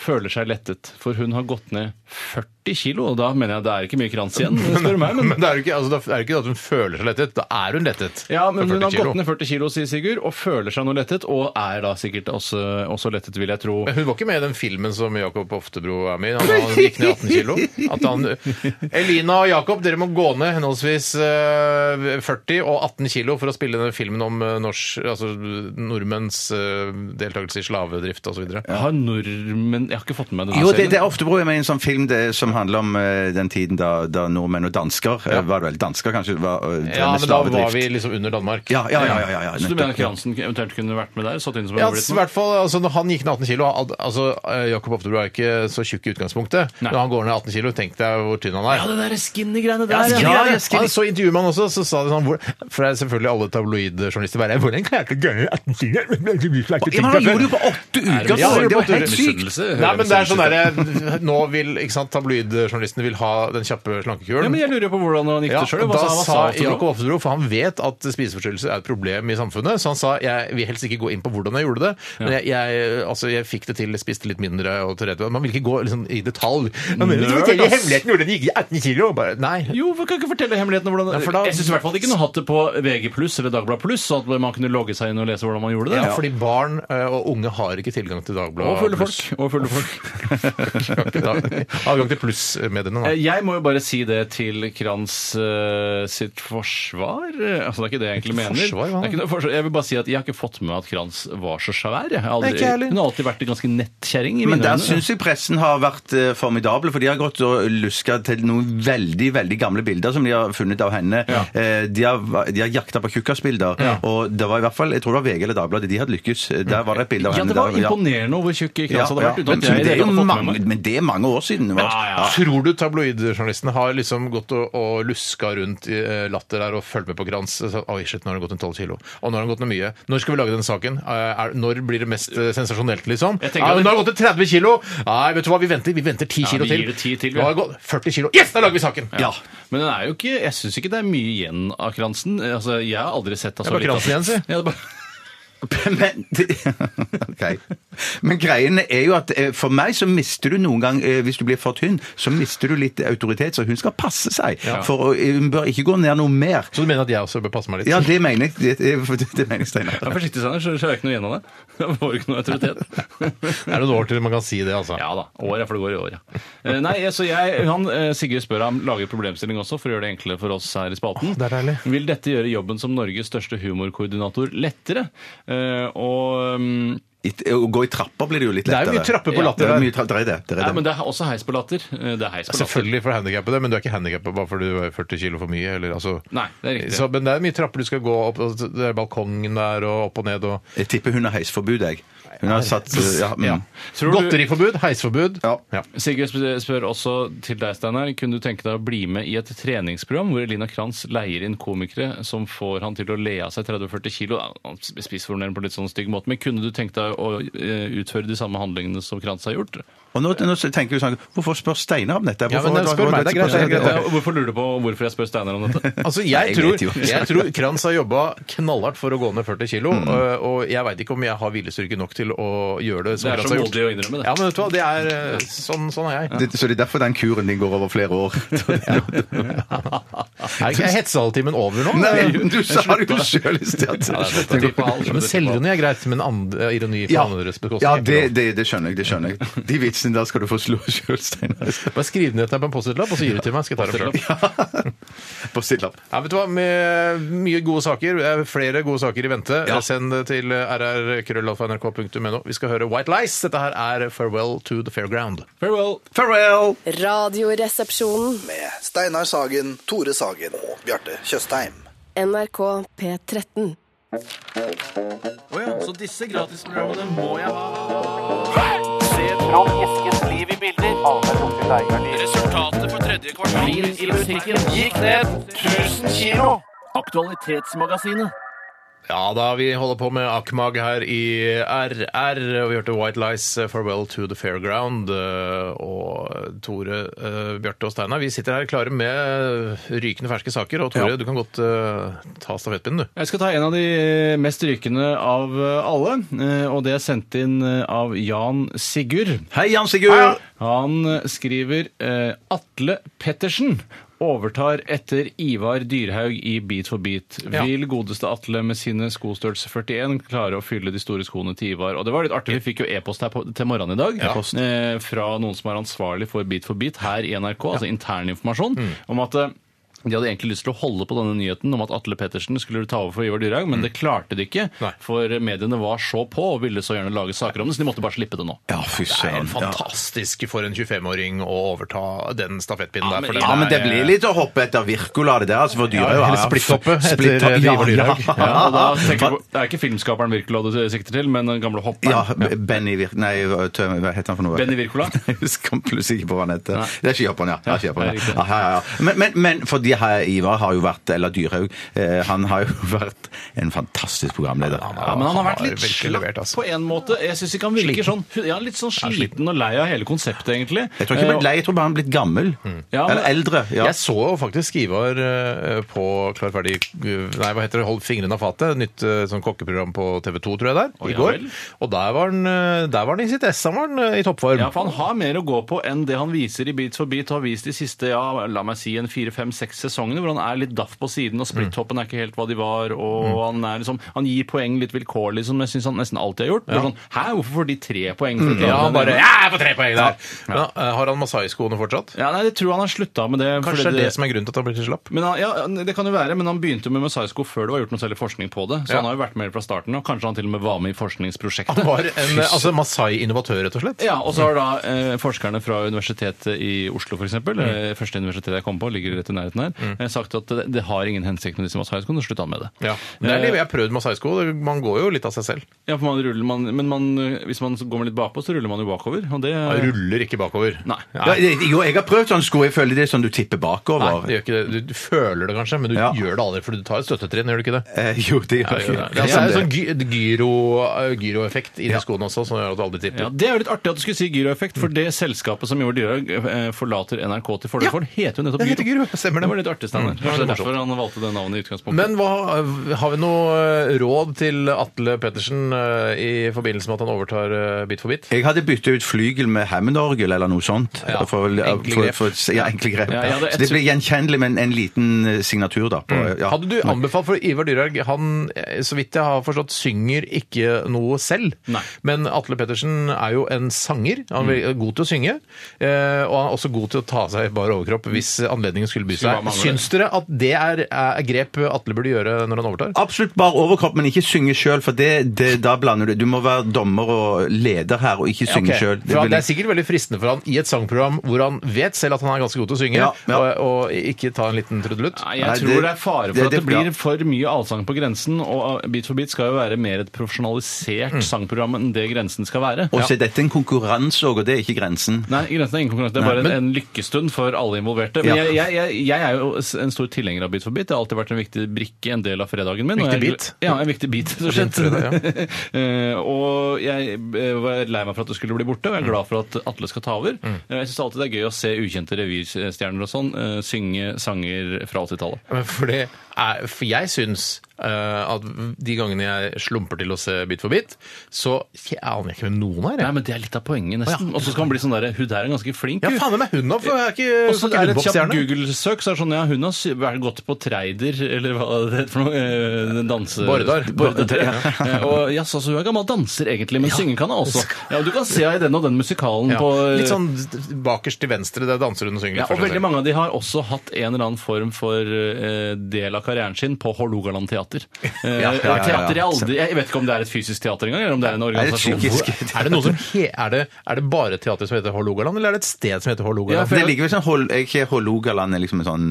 Føler seg lettet, for hun har gått ned 40 kilo, og da mener jeg det er ikke mye krans igjen, spør du meg. Men
Men det er jo ikke, altså, da er det ikke at hun føler seg lettet. Da er hun lettet.
ja, men
For
hun
40
har
kilo.
gått ned 40 kilo, sier Sigurd, og føler seg nå lettet, og er da sikkert også, også lettet, vil jeg tro.
Men Hun var ikke med i den filmen som Jakob Oftebro er med i. Han, han gikk ned 18 kilo. At han, Elina og Jakob, dere må gå ned henholdsvis eh, 40 og 18 kilo for å spille denne filmen om eh, norsk, altså, nordmenns eh, deltakelse i slavedrift osv.
Har nordmenn Jeg har ikke fått med meg denne
Jo, det,
serien.
det er ofte bruker jeg med i en sånn film det, som handler om eh, den tiden da, da nordmenn og dansker eh, Var det vel dansker, kanskje? Var, eh, drev
Ja,
med
men da var
slavedrift.
vi liksom under Danmark.
Ja, ja, ja. ja, ja, ja
Så du
nettopp.
mener Kransen eventuelt kunne vært med der? Satt inn som en
Ja,
favoritt
i
nå?
hvert fall, altså når Han gikk ned 18 kilo. al- Altså, eh, Jakob Oftebro er ikke så tjukk i utgangspunktet.
Nei.
Når han går ned 18 kilo, tenk deg hvor tynn han er.
Ja, det der skinny-greiene der.
Ja,
ja. altså,
ja, ja, så intervjuer man også, så sa de sånn hvor, For det er selvfølgelig alle tabloidjournalister bare Hvordan klarte du å gønne 18 kilo?
Ja, men han gjorde det jo på åtte uker!
Ja,
så
det
det var
måtte
helt
være
sykt!
Misunnelse, hører
Nei, men det er sånn
misunnelse.
derre Nå vil ikke sant, tabloidjournalistene vil ha den kjappe
Ja,
slankekuren.
men jeg lurer jo på hvordan han gikk
Ja,
det sjøl.
da sa Jakob Oftebro, for han vet at spiseforstyrrelser er et problem i samfunnet, så han sa jeg vil helst ikke gå inn på hvordan jeg gjorde det, men jeg, jeg, altså, jeg fikk det til, jeg spiste litt mindre og til rett. Man vil ikke gå liksom, i detalj. Men, men,
Nerd,
fortell
ass.
hemmeligheten hvordan det gikk i 18 kilo! Bare, nei.
Jo, for kan ikke fortelle hemmeligheten om hvordan
Ja, for da-
Jeg syns i hvert fall de kunne hatt det på VG eller Dagbladet Pluss, så at man kunne logge seg inn og lese hvordan man gjorde det.
Ja, fordi barn eh, og unge har ikke tilgang til Dagbladet.
Og fulle
Pluss.
folk. Og fulle folk.
Har ikke da- Adgang til plussmediene, da.
Eh, Jeg må jo bare si det til Kranz eh, sitt forsvar. Eh, Altså, det er ikke det jeg egentlig mener.
forsvar, hva da?
det er ikke noe forsvar. Jeg vil bare si at jeg har ikke fått med meg at Kranz var så svær. Jeg har aldri,
Nei, ikke heller.
hun har alltid vært en ganske nettkjerring. i
Men
mine
der
øyne.
syns jeg pressen har vært eh, formidable, for de har gått og luska til noen veldig veldig gamle bilder som de har funnet av henne.
Ja.
Eh, De har, de har jakta på tjukkasbilder, og det var i hvert fall jeg tror det var VG eller Dagbladet, de hadde lykkes. Eh, Der var det et bilde av
Ja,
henne.
det var
der,
imponerende over hvor tjukk
Ja,
Kranz hadde
ja.
vært. uten
Men,
at jeg i
det er
det
jo
hele tatt fått med
mange,
meg.
men det er mange år siden. hva?
Ja, ja.
Tror du tabloidjournalistene har liksom gått og, og luska rundt i eh, latter der og fulgt med på Grans? Så, Oi, shit, nå har det gått en 12 kilo. Og nå har det gått noe mye. Når skal vi lage den saken? Eh, Er, når blir det mest eh, sensasjonelt, liksom?
Jeg
Ja,
tenker at
men
det-
nå har det gått til 30 kilo! Nei, vet du hva, vi venter, vi venter 10
Ja,
kilo
vi
til.
gir det 10 til, vi.
Nå har det gått 40 kilo. Yes, da lager vi saken!
Ja. Men den er jo ikke, jeg syns ikke det er mye igjen av Kransen. Altså, jeg har aldri sett henne
Det er
liten.
bare Kransen igjen, si.
Ja, det er bare-
Men, Ok. Men greiene er jo at eh, for meg så mister du noen gang eh, Hvis du blir for tynn, så mister du litt autoritet, så hun skal passe seg. For å- hun bør ikke gå ned noe mer.
Så du mener at jeg også bør passe meg litt?
Ja, det mener jeg. Det, det, det mener jeg,
Vær
Steinar.
forsiktig, Steinar, så så er det ikke noe igjen av det. Det får ikke noe autoritet.
Er det noen år til man kan si det, altså?
Ja da. Året, for det går i år, ja. Eh, Nei, så jeg, han, eh, Sigurd spør ham lager problemstilling også for å gjøre det enklere for oss her i spalten.
det er deilig.
Vil dette gjøre jobben som Norges største humorkoordinator lettere? Eh, og mm,
I- Å gå i trapper blir det jo litt
Det er
lettere.
jo mye trapper på
Ja,
Det
latter
er
der.
mye trapp- det er det. det, er
Nei,
det.
men det er også heis på latter. Eh, Det er heis på latter.
Selvfølgelig for handikappede, men du er ikke handikappet bare fordi du er 40 kilo for mye. Eller, altså.
Nei, det er riktig.
Så, men det er mye trapper du skal gå opp, og det er balkongen der og opp og ned og
Jeg tipper hun har heisforbud, jeg. Hun har satt ja, mm.
ja.
Tror du-
Godteriforbud, heisforbud.
Ja.
Sigurd sp- spør også til deg, Steinar. Kunne du tenke deg å bli med i et treningsprogram hvor Elina Kranz leier inn komikere som får han til å le av seg 30-40 kilo? Ja, han Spissformulerer på litt sånn stygg måte, men kunne du tenke deg å eh, utføre de samme handlingene som Kranz har gjort?
Og nå, nå tenker vi sånn Hvorfor spør Steinar om dette?
Ja, men
Hvorfor-
spør meg, det er greit, det er greit.
Ja, Hvorfor lurer du på hvorfor jeg spør Steinar om dette?
Altså, jeg,
jeg vet jo.
tror, jeg tror Kranz har jobba knallhardt for å gå ned 40 kilo,
Mm.
og- og jeg veit ikke om jeg har viljestyrke nok til å gjøre det.
Det er
Kranz
så
har
modig å
gjort.
innrømme det.
Ja, men vet du hva, det er eh, sånn, sånn er jeg.
Det, så det er derfor den kuren din går over flere år.
Er ikke hetsehalvtimen over nå?
Nei, du sa det jo sjøl i sted.
Ja, men selvironi er greit, men andre, ironi på
Ja,
andres bekostning
ja
er ikke lov.
det, det, det skjønner jeg. det skjønner jeg. De vitsene der skal du få slå sjøl, Steinar.
Bare skriv ned dette på en Post-It-lapp, og så gir du til meg. skal jeg ta det selv.
På stillelapp.
Ja, vet du hva? Med mye gode saker, eh, flere gode saker i vente.
Ja.
Send det til eh, rrkrøllalfa.nrk.no. Vi skal høre White Lies. Dette her er Farewell to the Fairground.
Farewell!
Farewell!
Radioresepsjonen.
Med Steinar Sagen, Tore Sagen og Bjarte Tjøstheim.
NRK P13.
Så disse gratisprogrammene må jeg ha. Resultatet på tredje kvartal i musikken gikk ned 1000 kilo. Aktualitetsmagasinet.
Ja da, vi holder på med Akmag her i RR, og vi hørte White Lies, eh, Farewell to the Fairground. eh, Og Tore, eh, Bjarte og Steinar, vi sitter her klare med eh, rykende ferske saker. Og Tore, du kan godt eh, ta stafettpinnen, du.
Jeg skal ta en av de eh, mest rykende av alle, eh, og det er sendt inn eh, av Jan Sigurd.
Hei, Jan Sigurd!
Han eh, skriver eh, Atle Pettersen overtar etter Ivar Dyrhaug i Beat for beat.
Ja.
Vil godeste Atle med sine skostørrelse 41 klare å fylle de store skoene til Ivar? Og det var litt artig, vi fikk jo e-post her på, til morgenen i dag eh, fra noen som er ansvarlig for Beat for beat her i NRK, altså interninformasjon,
Mm.
om at eh, de hadde egentlig lyst til å holde på denne nyheten om at Atle Pettersen skulle ta over for Ivar Dyrhaug, men det klarte de ikke,
Mm. Nei.
for mediene var så på og ville så gjerne lage saker om det, så de måtte bare slippe det nå.
Ja, fy
Det er
søren.
helt fantastisk for en 25-åring å overta den stafettpinnen der.
men-
For den
Ja, men
er-
det blir litt å hoppe etter Virkola, det der. Altså, for dyret
eller splitthoppe etter Ivar Dyrhaug.
Ja,
Ja, og da tenker
ja.
jeg på, Det er ikke filmskaperen Wirkola du sikter til, men den gamle
Ja,
hopperen.
B- Benny Virk... Nei, hva tø- hva heter han for noe?
Benny Wirkola?
Jeg husker han plutselig ikke på hva han heter.
Nei.
Det er ikke Japan, ja. Det er ikke Japan,
det er
ja.
riktig.
Ja, ja, ja. Men, men, men fordi her, Ivar har jo vært, eller Dyrhaug, eh, han har jo vært en fantastisk programleder.
Ja, men han har vært
har
litt
virkelig levert,
slapp
altså.
på en måte. Jeg syns ikke han virker sånn. Ja, litt sånn sliten og lei av hele konseptet, egentlig. Eh,
Jeg tror ikke han ble lei, jeg tror bare han er blitt gammel.
Ja, men-
Eller eldre. Ja.
Jeg så jo faktisk Ivar eh, på Klar ferdig eh, Nei, hva heter det? Hold fingrene av fatet. Nytt eh, sånn kokkeprogram på TV 2, tror jeg der,
Å,
i
ja
går.
vel.
Og der var han, eh, der var han i sitt ess, han var han eh, i toppform.
Ja, for Han har mer å gå på enn det han viser i Beat for beat. og Har vist de siste ja, la meg si, en fire, fem, seks sesongene hvor han er litt daff på siden, og splittoppen er ikke helt hva de var. og Han er liksom, han gir poeng litt vilkårlig, som jeg syns han nesten alltid har gjort. Bare Sånn, Hæ, hvorfor får de tre poeng? For å klare
Ja, han
den
bare
ene?»
Ja, jeg får tre poeng der! Men, eh, har han masai-skoene fortsatt?
Ja, nei, jeg tror han har slutta med det. fordi
Kanskje det er det som er grunnen til at han blir så slapp?
Men han, ja, det kan jo være, men han begynte jo med mosaisko før det var gjort noe særlig forskning på det. Så
Ja.
han har jo vært med fra starten, og kanskje han til og med var med i forskningsprosjektet.
Han var en eh, altså, masai-innovatør, rett og slett.
Ja, og så har da eh, forskerne fra Universitetet i Oslo, f.eks., mm. første universitetet jeg kom på, ligger rett i nærheten her, eh, sagt at det, det har ingen hensikt med disse masaiskoene, slutt an med det.
Mm. Ja. Det
Eh.
er livet. Jeg har prøvd masai-sko. Man går jo litt av seg selv.
Ja, for man ruller, man, men man, eh, hvis man går litt bakpå, så ruller man jo bakover. Og det,
Man ruller ikke bakover.
Eh. Nei.
Ja, det- jo, jeg har prøvd sånne sko. Jeg føler det er sånn du tipper bakover.
Nei, det gjør ikke det. Du føler det kanskje, men du
Ja.
gjør det aldri, for du tar et støttetrinn, gjør du ikke det?
Eh, jo, det gjør
Ja,
jeg.
det er en sånn gy- gyro, eh, gyroeffekt i de skoene også, som gjør at du aldri tipper.
ja, det er jo litt artig at du skulle si gyroeffekt, for det selskapet som gjorde Dyrhaug, eh, forlater NRK til fordel for, heter jo nettopp
det heter Gyro, stemmer det.
var var litt artig, Steinar.
det var
Kanskje det er
morsomt.
derfor han valgte det navnet i utgangspunktet.
Men hva, eh, har vi noe eh, råd til Atle Pettersen eh, i forbindelse med at han overtar eh, Bit for bit?
Jeg hadde byttet ut flygel med Hammond-orgel eller noe sånt.
Ja,
For, for,
enkle grep.
for, ja, enkle grep.
Ja, jeg hadde et-
Så det ble gjenkjennelig med en, en liten eh, signatur, da. På, ja.
Hadde du anbefalt for Ivar Dyrhaug Han, eh, så vidt jeg har forstått, synger ikke noe selv.
Nei. Mm.
Men Atle Pettersen er jo en sanger. Han er god til å synge. eh, Og han er også god til å ta av seg bar overkropp hvis anledningen skulle by
Skulle bare
seg.
mangle.
Syns dere at det er, er grep Atle burde gjøre når han overtar?
Absolutt bar overkropp, men ikke synge sjøl, for det, det, da blander du Du må være dommer og leder her, og ikke synge
Ok,
selv. sjøl.
for han- Det er sikkert veldig fristende for han i et sangprogram hvor han vet selv at han er ganske god til å synge,
Ja, ja.
Og, og ikke ta en liten trudelutt.
Nei,
Nei,
jeg tror
det-
det, er fare for
det-
at det
det-
blir
ja.
for mye allsang på grensen, og Bit for bit skal jo være mer et profesjonalisert sangprogram enn det grensen skal være.
Og så er dette en konkurranse òg, og det er ikke grensen.
Nei, grensen er ingen konkurranse. Det er bare en, en lykkestund for alle involverte. Men
Ja.
jeg, jeg, jeg, jeg er jo s- en stor tilhenger av Bit for bit. Det har alltid vært en viktig brikke, en del av fredagen min. og
Viktig
jeg,
bit?
Ja, en viktig bit. rett og slett. Eh, og jeg eh, var lei meg for at det skulle bli borte, og
Mm.
jeg er glad for at Atle skal ta over. Eh, Jeg syns alltid det er gøy å se ukjente revystjerner og sånn eh, synge sanger fra 80-tallet.
Men For, det er, for jeg syns eh, at de gangene jeg slumper til å se Bit for bit, så jeg aner jeg ikke hvem noen er.
Nei,
Jeg.
men Det er litt av poenget,
Å,
nesten.
ja.
Og så skal man bli sånn derre Hun der er ganske flink,
Ja,
hun.
faen meg hun da, for jeg er ikke
Og så er det et kjapt
kjempeboksstjerne.
Google-søk, så er det sånn ja, hun har sy- vært gått på Treider, eller hva det heter for noe, eh, den danse...
Bordar.
Bordar, ja. Eh, Og ja, så så hun er gammel danser egentlig, men synger kan hun også. Ja, og du kan se henne i den og den musikalen
Ja.
på... eh,
Litt sånn bakerst til venstre, der danser hun og synger.
ja,
litt
og
for seg
veldig
selv.
mange av de har også hatt en eller annen form for eh, del av karrieren sin på Hålogaland teater. Eh,
ja, ja, ja.
Teater jeg aldri Jeg vet ikke om det er et fysisk teater engang, eller om det er en
Er det
organisasjon.
psykisk?
Er det, noe som he, er, det, er det bare teater som heter Hålogaland, eller er det et sted som heter
Ja,
Hålogaland?
for-
Det ligger vel sånn Hol- er Ikke Hålogaland er liksom en sånn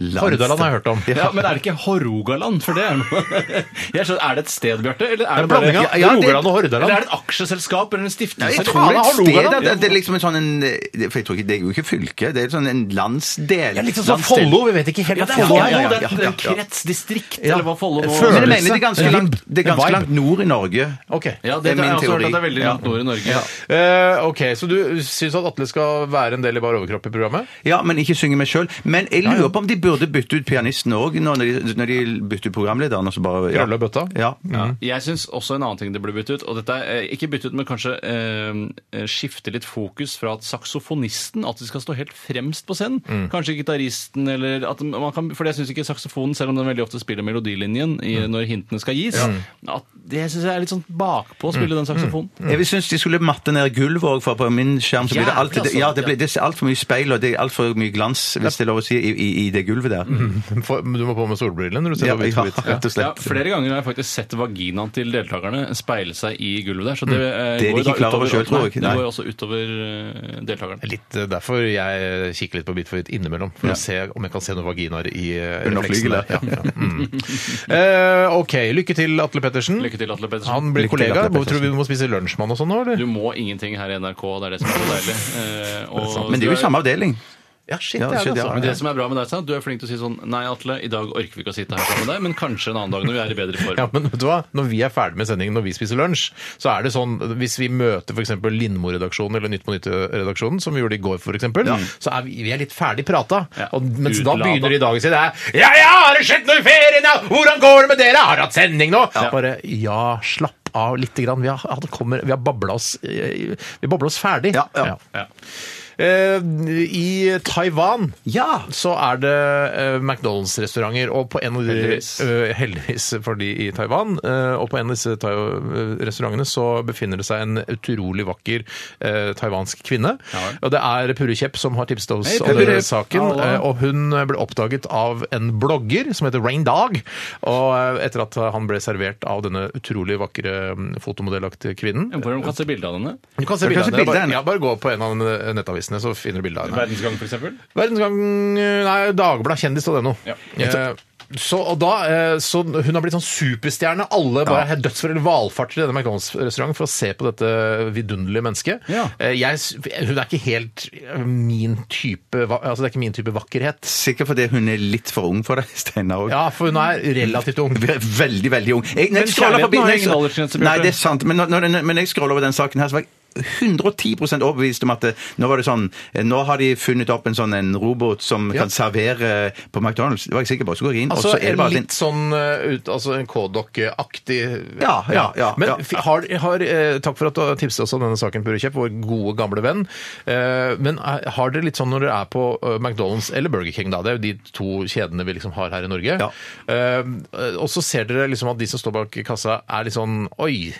lands-
Hordaland har jeg hørt om.
Ja, men er det ikke Hårogaland? For det er noe Jeg skjønner, Er det et sted, Bjarte? Eller er
Er
det
det
bare
blanding av
Ja, ja, det-
Rogaland og Hordaland?
Eller er det et aksjeselskap eller en stiftelse?
Ja, jeg
Eller
tror det
faen,
er et sted,
Hålogaland?
at det, det er liksom en sånn en, eh, For jeg tror ikke, det er jo ikke fylke, det er sånn en landsdel.
Ja, litt sånn som
Landsdel.
Follo, vi vet ikke
Ja,
helt
det
hva
er
Follo
Follo,
er.
ja,
ja,
det er
ja,
det er
ja,
en
ja.
kretsdistrikt,
Ja.
eller hva Follo nå
Men
Følelse.
jeg mener det er ganske,
Rib.
langt, det er ganske
Vibe.
langt nord i Norge.
Ok.
Ja,
Det er
det, har jeg
min
også hørt
teori.
at det er veldig langt nord i Norge.
Eh, ok, Så du syns at Atle skal være en del i bar overkropp i programmet?
Ja, men ikke synge meg sjøl. Men jeg lurer på om de burde bytte ut pianisten òg, når, de- når de bytter ut programlederen. Og så bare, ja.
Krølle og bøtta?
Ja.
Jeg syns også en annen ting det burde bytte ut. og dette er eh, Ikke bytte ut, men kanskje eh, eh, skifte litt fokus fra at saksofonisten at de skal stå helt fremst på scenen.
Mm.
Kanskje gitaristen eller at man kan, For jeg syns ikke saksofonen, selv om den veldig ofte spiller melodilinjen i,
Mm.
når hintene skal gis, at det syns jeg er litt sånn
Mm.
bakpå å spille den saksofonen.
Jeg vil synes de skulle matte ned gulvet òg, for på min skjerm så blir det
Jævlig,
alltid
altså.
ja, det, blir, det er altfor mye speil, og det er altfor mye glans, hvis det er lov å si, i, i, i det gulvet der.
Mm.
For, men du må på med solbrillene når du ser
Ja,
på
ja,
Bit for bit.
rett og
Ja,
slett.
flere ganger har jeg faktisk sett vaginaen til deltakerne speile seg i gulvet der. Så det, eh,
Mm. Det er de
går jo da
ikke klar over
utover-
selv, tror jeg.
Nei,
Nei.
Det går jo også utover eh, deltakerne.
Litt eh, derfor jeg kikker litt på Bit for bit innimellom. For å se om jeg kan se noen vaginaer i eh,
Under
refleksene.
flygelet.
Ja, ja. Mm. Eh, ok, lykke til, Atle Pettersen.
Lykke til, Atle Pettersen.
Han blir
Lykke til,
kollega.
Atle
Hvor- Tror
Pettersen.
du vi må spise lunsjmann og sånn nå, eller?
Du må ingenting her i NRK, det er det som er så deilig. Eh, og
Men det er jo i samme avdeling.
Ja, shit,
Ja,
det er
shit,
det,
ja.
altså.
Men det som er bra med deg, Stein, du er flink til å si sånn Nei, Atle, i dag orker vi ikke å sitte her sammen med deg, men kanskje en annen dag når vi er i bedre form.
Ja, men vet du hva? Når vi er ferdig med sendingen, når vi spiser lunsj, så er det sånn Hvis vi møter f.eks. Lindmo-redaksjonen eller Nytt på Nytt-redaksjonen, som vi gjorde i går f.eks., så er vi, vi er litt ferdig prata.
Ja.
Og- Mens da
Utlada.
begynner de dagen sin det er Ja, ja, har det skjedd noe i ferien, ja? Hvordan går det med dere? Har dere hatt sending nå? Bare ja, slapp av litt. Grann. Vi har, ja, det kommer, vi har babla oss, eh, vi babla oss ferdig.
Ja, ja.
Ja.
Eh, I Taiwan
Ja!
så er det eh, McDonald's-restauranter, og på en av de
Heldigvis.
eh, heldigvis for de i Taiwan, eh, og på en av disse tai- eh, restaurantene så befinner det seg en utrolig vakker eh, taiwansk kvinne.
Ja.
Og det er Purre Kjepp som har tipset oss
Hei,
om
Purre.
denne saken,
Hallo.
eh, og hun ble oppdaget av en blogger som heter Rain Dog, og eh, etter at han ble servert av denne utrolig vakre mm, fotomodellaktige kvinnen.
Hvordan kan se bilde av henne?
Du kan se
Du kan
bildet
se
av henne.
bildet av
Bare,
henne.
ja, bare gå på en av nettavisene, så finner du bildet av henne.
Verdensgang, for eksempel?
Verdensgang eh, Nei, Dagbladet kjendis og det nå.
Ja.
Eh, Så, og da, eh, så hun har blitt sånn superstjerne. Alle bare ja. dødsforeldre valfarter til denne McDonald's-restauranten for å se på dette vidunderlige mennesket.
Ja.
Eh, Jeg, s- hun er ikke helt min type va- altså Det er ikke min type vakkerhet.
Sikkert fordi hun er litt for ung for deg, Steinar òg.
Ja, for hun er relativt ung.
Veldig, veldig ung. Jeg, når
Men
jeg scroller
kjærligheten
forbi,
har
når jeg
ingen
så-
aldersgrense, Bjarte.
Nei, det er sant. Men når, når, men når jeg scroller over den saken her, så var jeg 110 overbevist om at det, nå var det sånn eh, Nå har de funnet opp en sånn en robot som
Ja.
kan servere på McDonald's. Det var jeg sikker på. Så går jeg inn,
Altså
og så er det bare
litt sånn eh, ut, altså en Kodok-aktig
Ja, ja, ja,
Men
ja.
fi- har, har eh, Takk for at du har tipset oss om denne saken, Pure Kjepp, vår gode, gamle venn. Eh, Men er- har dere litt sånn når dere er på eh, McDonald's eller Burger King, da, det er jo de to kjedene vi liksom har her i Norge,
Ja.
Eh, og så ser dere liksom at de som står bak kassa er litt sånn Oi,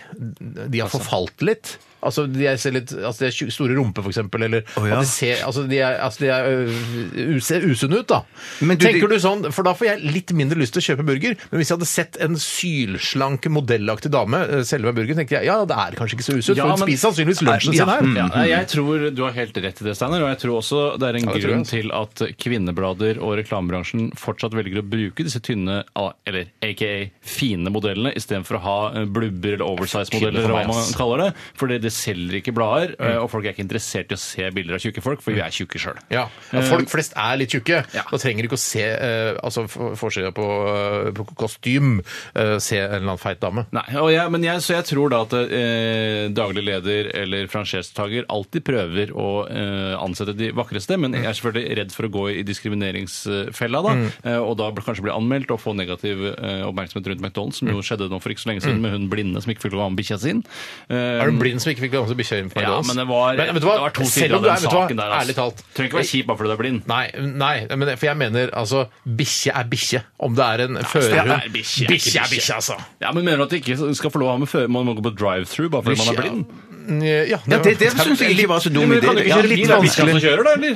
de har forfalt litt. Altså, de er, ser litt, altså, de er tju- store rumper, for eksempel, eller
Å, ja.
at de ser Altså, de er, altså, de er ø, ser usunne ut, da.
Men du, de-
Tenker du sånn, for da får jeg litt mindre lyst til å kjøpe burger. Men hvis jeg hadde sett en sylslank, modellaktig dame eh, selge meg burger, tenkte jeg ja, det er kanskje ikke så usunt,
Ja,
for hun
men-
spiser sannsynligvis lunsjen
Ja,
sin Mm. her.
Ja, nei, jeg tror du har helt rett i det, Steiner. Og jeg tror også det er en
det tror jeg,
grunn
altså.
til at kvinneblader og reklamebransjen fortsatt velger å bruke disse tynne, ah, eller aka fine modellene, istedenfor å ha eh, blubber eller
Kvinner
oversize-modeller,
for
eller hva
meg,
man
ass.
kaller det. Fordi det selger ikke blader, eh, og folk er ikke interessert i å se bilder av tjukke folk, for vi er tjukke sjøl.
Ja, ja, Folk flest er litt tjukke.
Eh, Ja.
Da trenger de ikke å se eh, altså, for- forsida på, eh, på kostym, eh, se en eller annen feit dame.
Nei, og jeg, men jeg, så jeg tror da at eh, daglig leder eller franchisetaker alltid prøver å eh, ansette de vakreste, men jeg er selvfølgelig redd for å gå i diskrimineringsfella
Mm.
da, eh, og da bl- kanskje bli anmeldt og få negativ eh, oppmerksomhet rundt McDonald's, som
Mm.
jo skjedde nå for ikke så lenge siden med hun blinde som ikke fikk lov å ha med bikkja sin. Eh,
Er du blind som ikke fikk lov til å bikkje inn på
Ja,
McDonald's?
men det var,
Men vet du hva?
det var to
Selv
sider
om
av
du
den
er- vet du hva?
saken der. altså.
Ærlig talt.
Trenger ikke være kjip bare fordi du er blind.
Nei, nei, men det- for jeg mener altså Bikkje er bikkje. Om det er en
det
førerhund
er bikkje, er
Bikkje
ikke
er bikkje,
bikkje.
altså!
Ja, men mener du at du ikke skal få lov å ha med før man må gå på drive-through bare fordi man er blind?
Ja,
Ja, det, det synes jeg ikke var
Altså,
så dum
Men
idé.
kan du ikke
Ja,
kjøre bil?
litt
Det er bikkja
vanskelig.
som kjører, da, eller?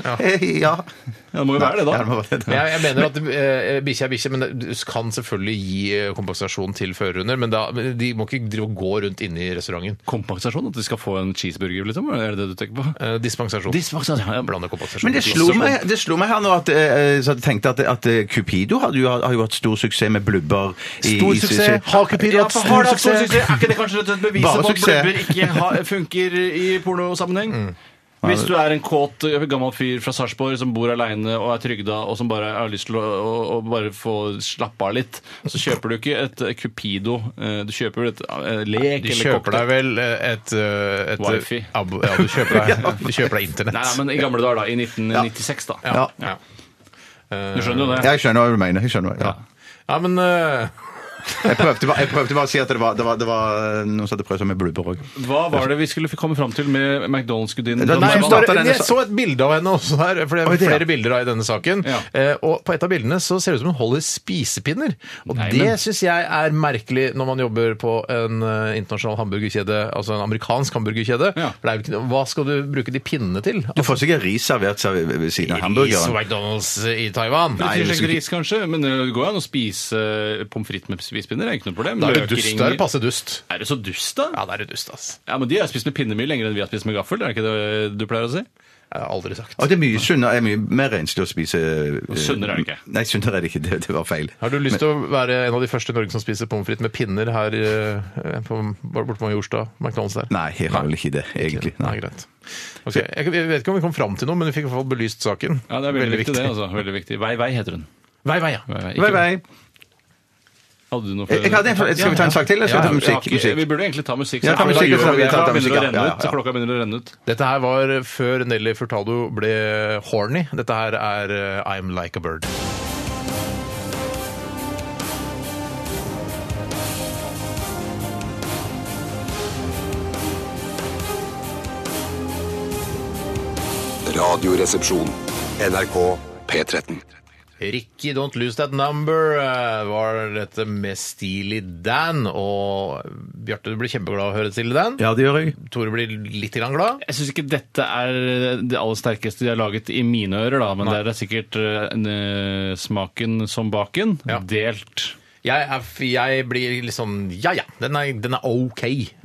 Ja,
Ja.
det må jo være det, da.
Ja, det må være det.
Men jeg, jeg mener at eh, bikkje er bikkje, men det- du kan selvfølgelig gi eh, kompensasjon til førerhunder. Men da, men de må ikke drive og gå rundt inne i restauranten.
kompensasjon? At de skal få en cheeseburger, liksom? Er det det du tenker på?
Eh, dispensasjon.
Dispensasjon. Ja,
Blander kompensasjon.
Men det slo
Sånn.
meg, det slo meg her nå at, eh, så jeg tenkte at, at eh, Cupido hadde jo, har jo hatt stor suksess med blubber. i-
Stor
i-
suksess. Har Cupido hatt
for
stor
har det hatt stor
suksess?
suksess? Er ikke det kanskje rett og slett bevis
Bare
på at
suksess.
blubber ikke ha- funker i pornosammenheng?
Mm.
Hvis du er en kåt eh, gammel fyr fra Sarpsborg som bor aleine og er trygda, og som bare har lyst til å, å, å bare få slappe av litt, så kjøper du ikke et eh, Cupido. eh, Du kjøper et eh, lek eller
De kjøper deg
cocktail.
vel eh, et, eh, et
Wifi.
Abo, ja, du kjøper deg, du kjøper deg internett.
Nei, nei, men i gamle dager, da. I 1996, da.
ja.
Ja. Du skjønner jo det?
Jeg skjønner hva du mener. Jeg, skjønner, hva- ja.
Ja, men eh,
jeg, prøvde, bare, jeg prøvde bare å si at det var, det var, det var eh, noen som hadde prøvd seg med blubber òg.
Hva var det vi skulle komme fram til med McDonald's-gudinnen?
Nei,
Nei,
jeg
jeg,
må
bare,
starte denne
jeg
sa-
så et bilde av henne også her, for det
Oi,
er
det, ja.
flere bilder av i denne saken.
Ja.
Eh, og på et av bildene så ser det ut som hun holder spisepinner. Og
Nei,
det
men-
syns jeg er merkelig når man jobber på en eh, internasjonal hamburgerkjede, altså en amerikansk hamburgerkjede.
Ja.
For det er jo ikke, noe- hva skal du bruke de pinnene til?
Du får sikkert ris servert seg ved ved siden av
Is
hamburgeren.
McDonald's i Taiwan.
Nei,
jeg
det
husker
ikke ris, kanskje, men det går jo an å spise eh, pommes frites med spisepinner. Det er ikke noe problem.
Da er du
Løkringer-
dust. Da er det passe dust.
Er det så dust, da? Ja.
Ja, da er du dust, ass.
men De har spist med pinne mye lenger enn vi har spist med gaffel. Er det ikke det eh, du pleier å si?
Jeg har aldri sagt.
Og det er mye sunnere, er mye mer renslig å spise eh,
Sunnere er det ikke.
Nei, sunnere er det ikke. Det, det var feil.
Har du lyst til å være en av de første i Norge som spiser pommes frites med pinner her eh, på, borte på Majorstad? McDonald's der?
Nei, jeg har vel ikke det, egentlig.
Nei, greit. Ok, Jeg jeg vet ikke om vi kom fram til noe, men vi fikk i hvert fall belyst saken.
Ja, det er veldig, viktig, det. altså. Veldig viktig. Vei, vei heter hun.
Vei, vei, ja.
Vei, vei. Ikke-
Bye, bye.
Hadde du noe
Jeg- jeg hadde en- Skal vi ta en sak til, eller skal vi ta
Ja, ja,
musikk?
ok. Vi
musikk?
burde egentlig ta musikk.
Ja, ta
da
musikk,
gjør
så
vi det.
tar vi
Da begynner det å
musikk, ja,
renne
ja,
ut.
ja.
så Klokka begynner å renne ut.
Dette her var før Nelly Furtado ble horny. Dette her er eh, I'm Like a Bird.
Radioresepsjon. NRK P13.
Ricky Don't Lose That Number eh, var dette med Steely Dan. Og Bjarte, du blir kjempeglad av å høre Steely Dan.
Ja, det gjør jeg.
Tore blir litt grann glad.
Jeg syns ikke dette er det aller sterkeste de har laget i mine ører, da, men det er sikkert eh, en, eh, smaken som baken.
Ja.
Delt.
Jeg, er, jeg blir litt sånn Ja, ja, den er, den er OK.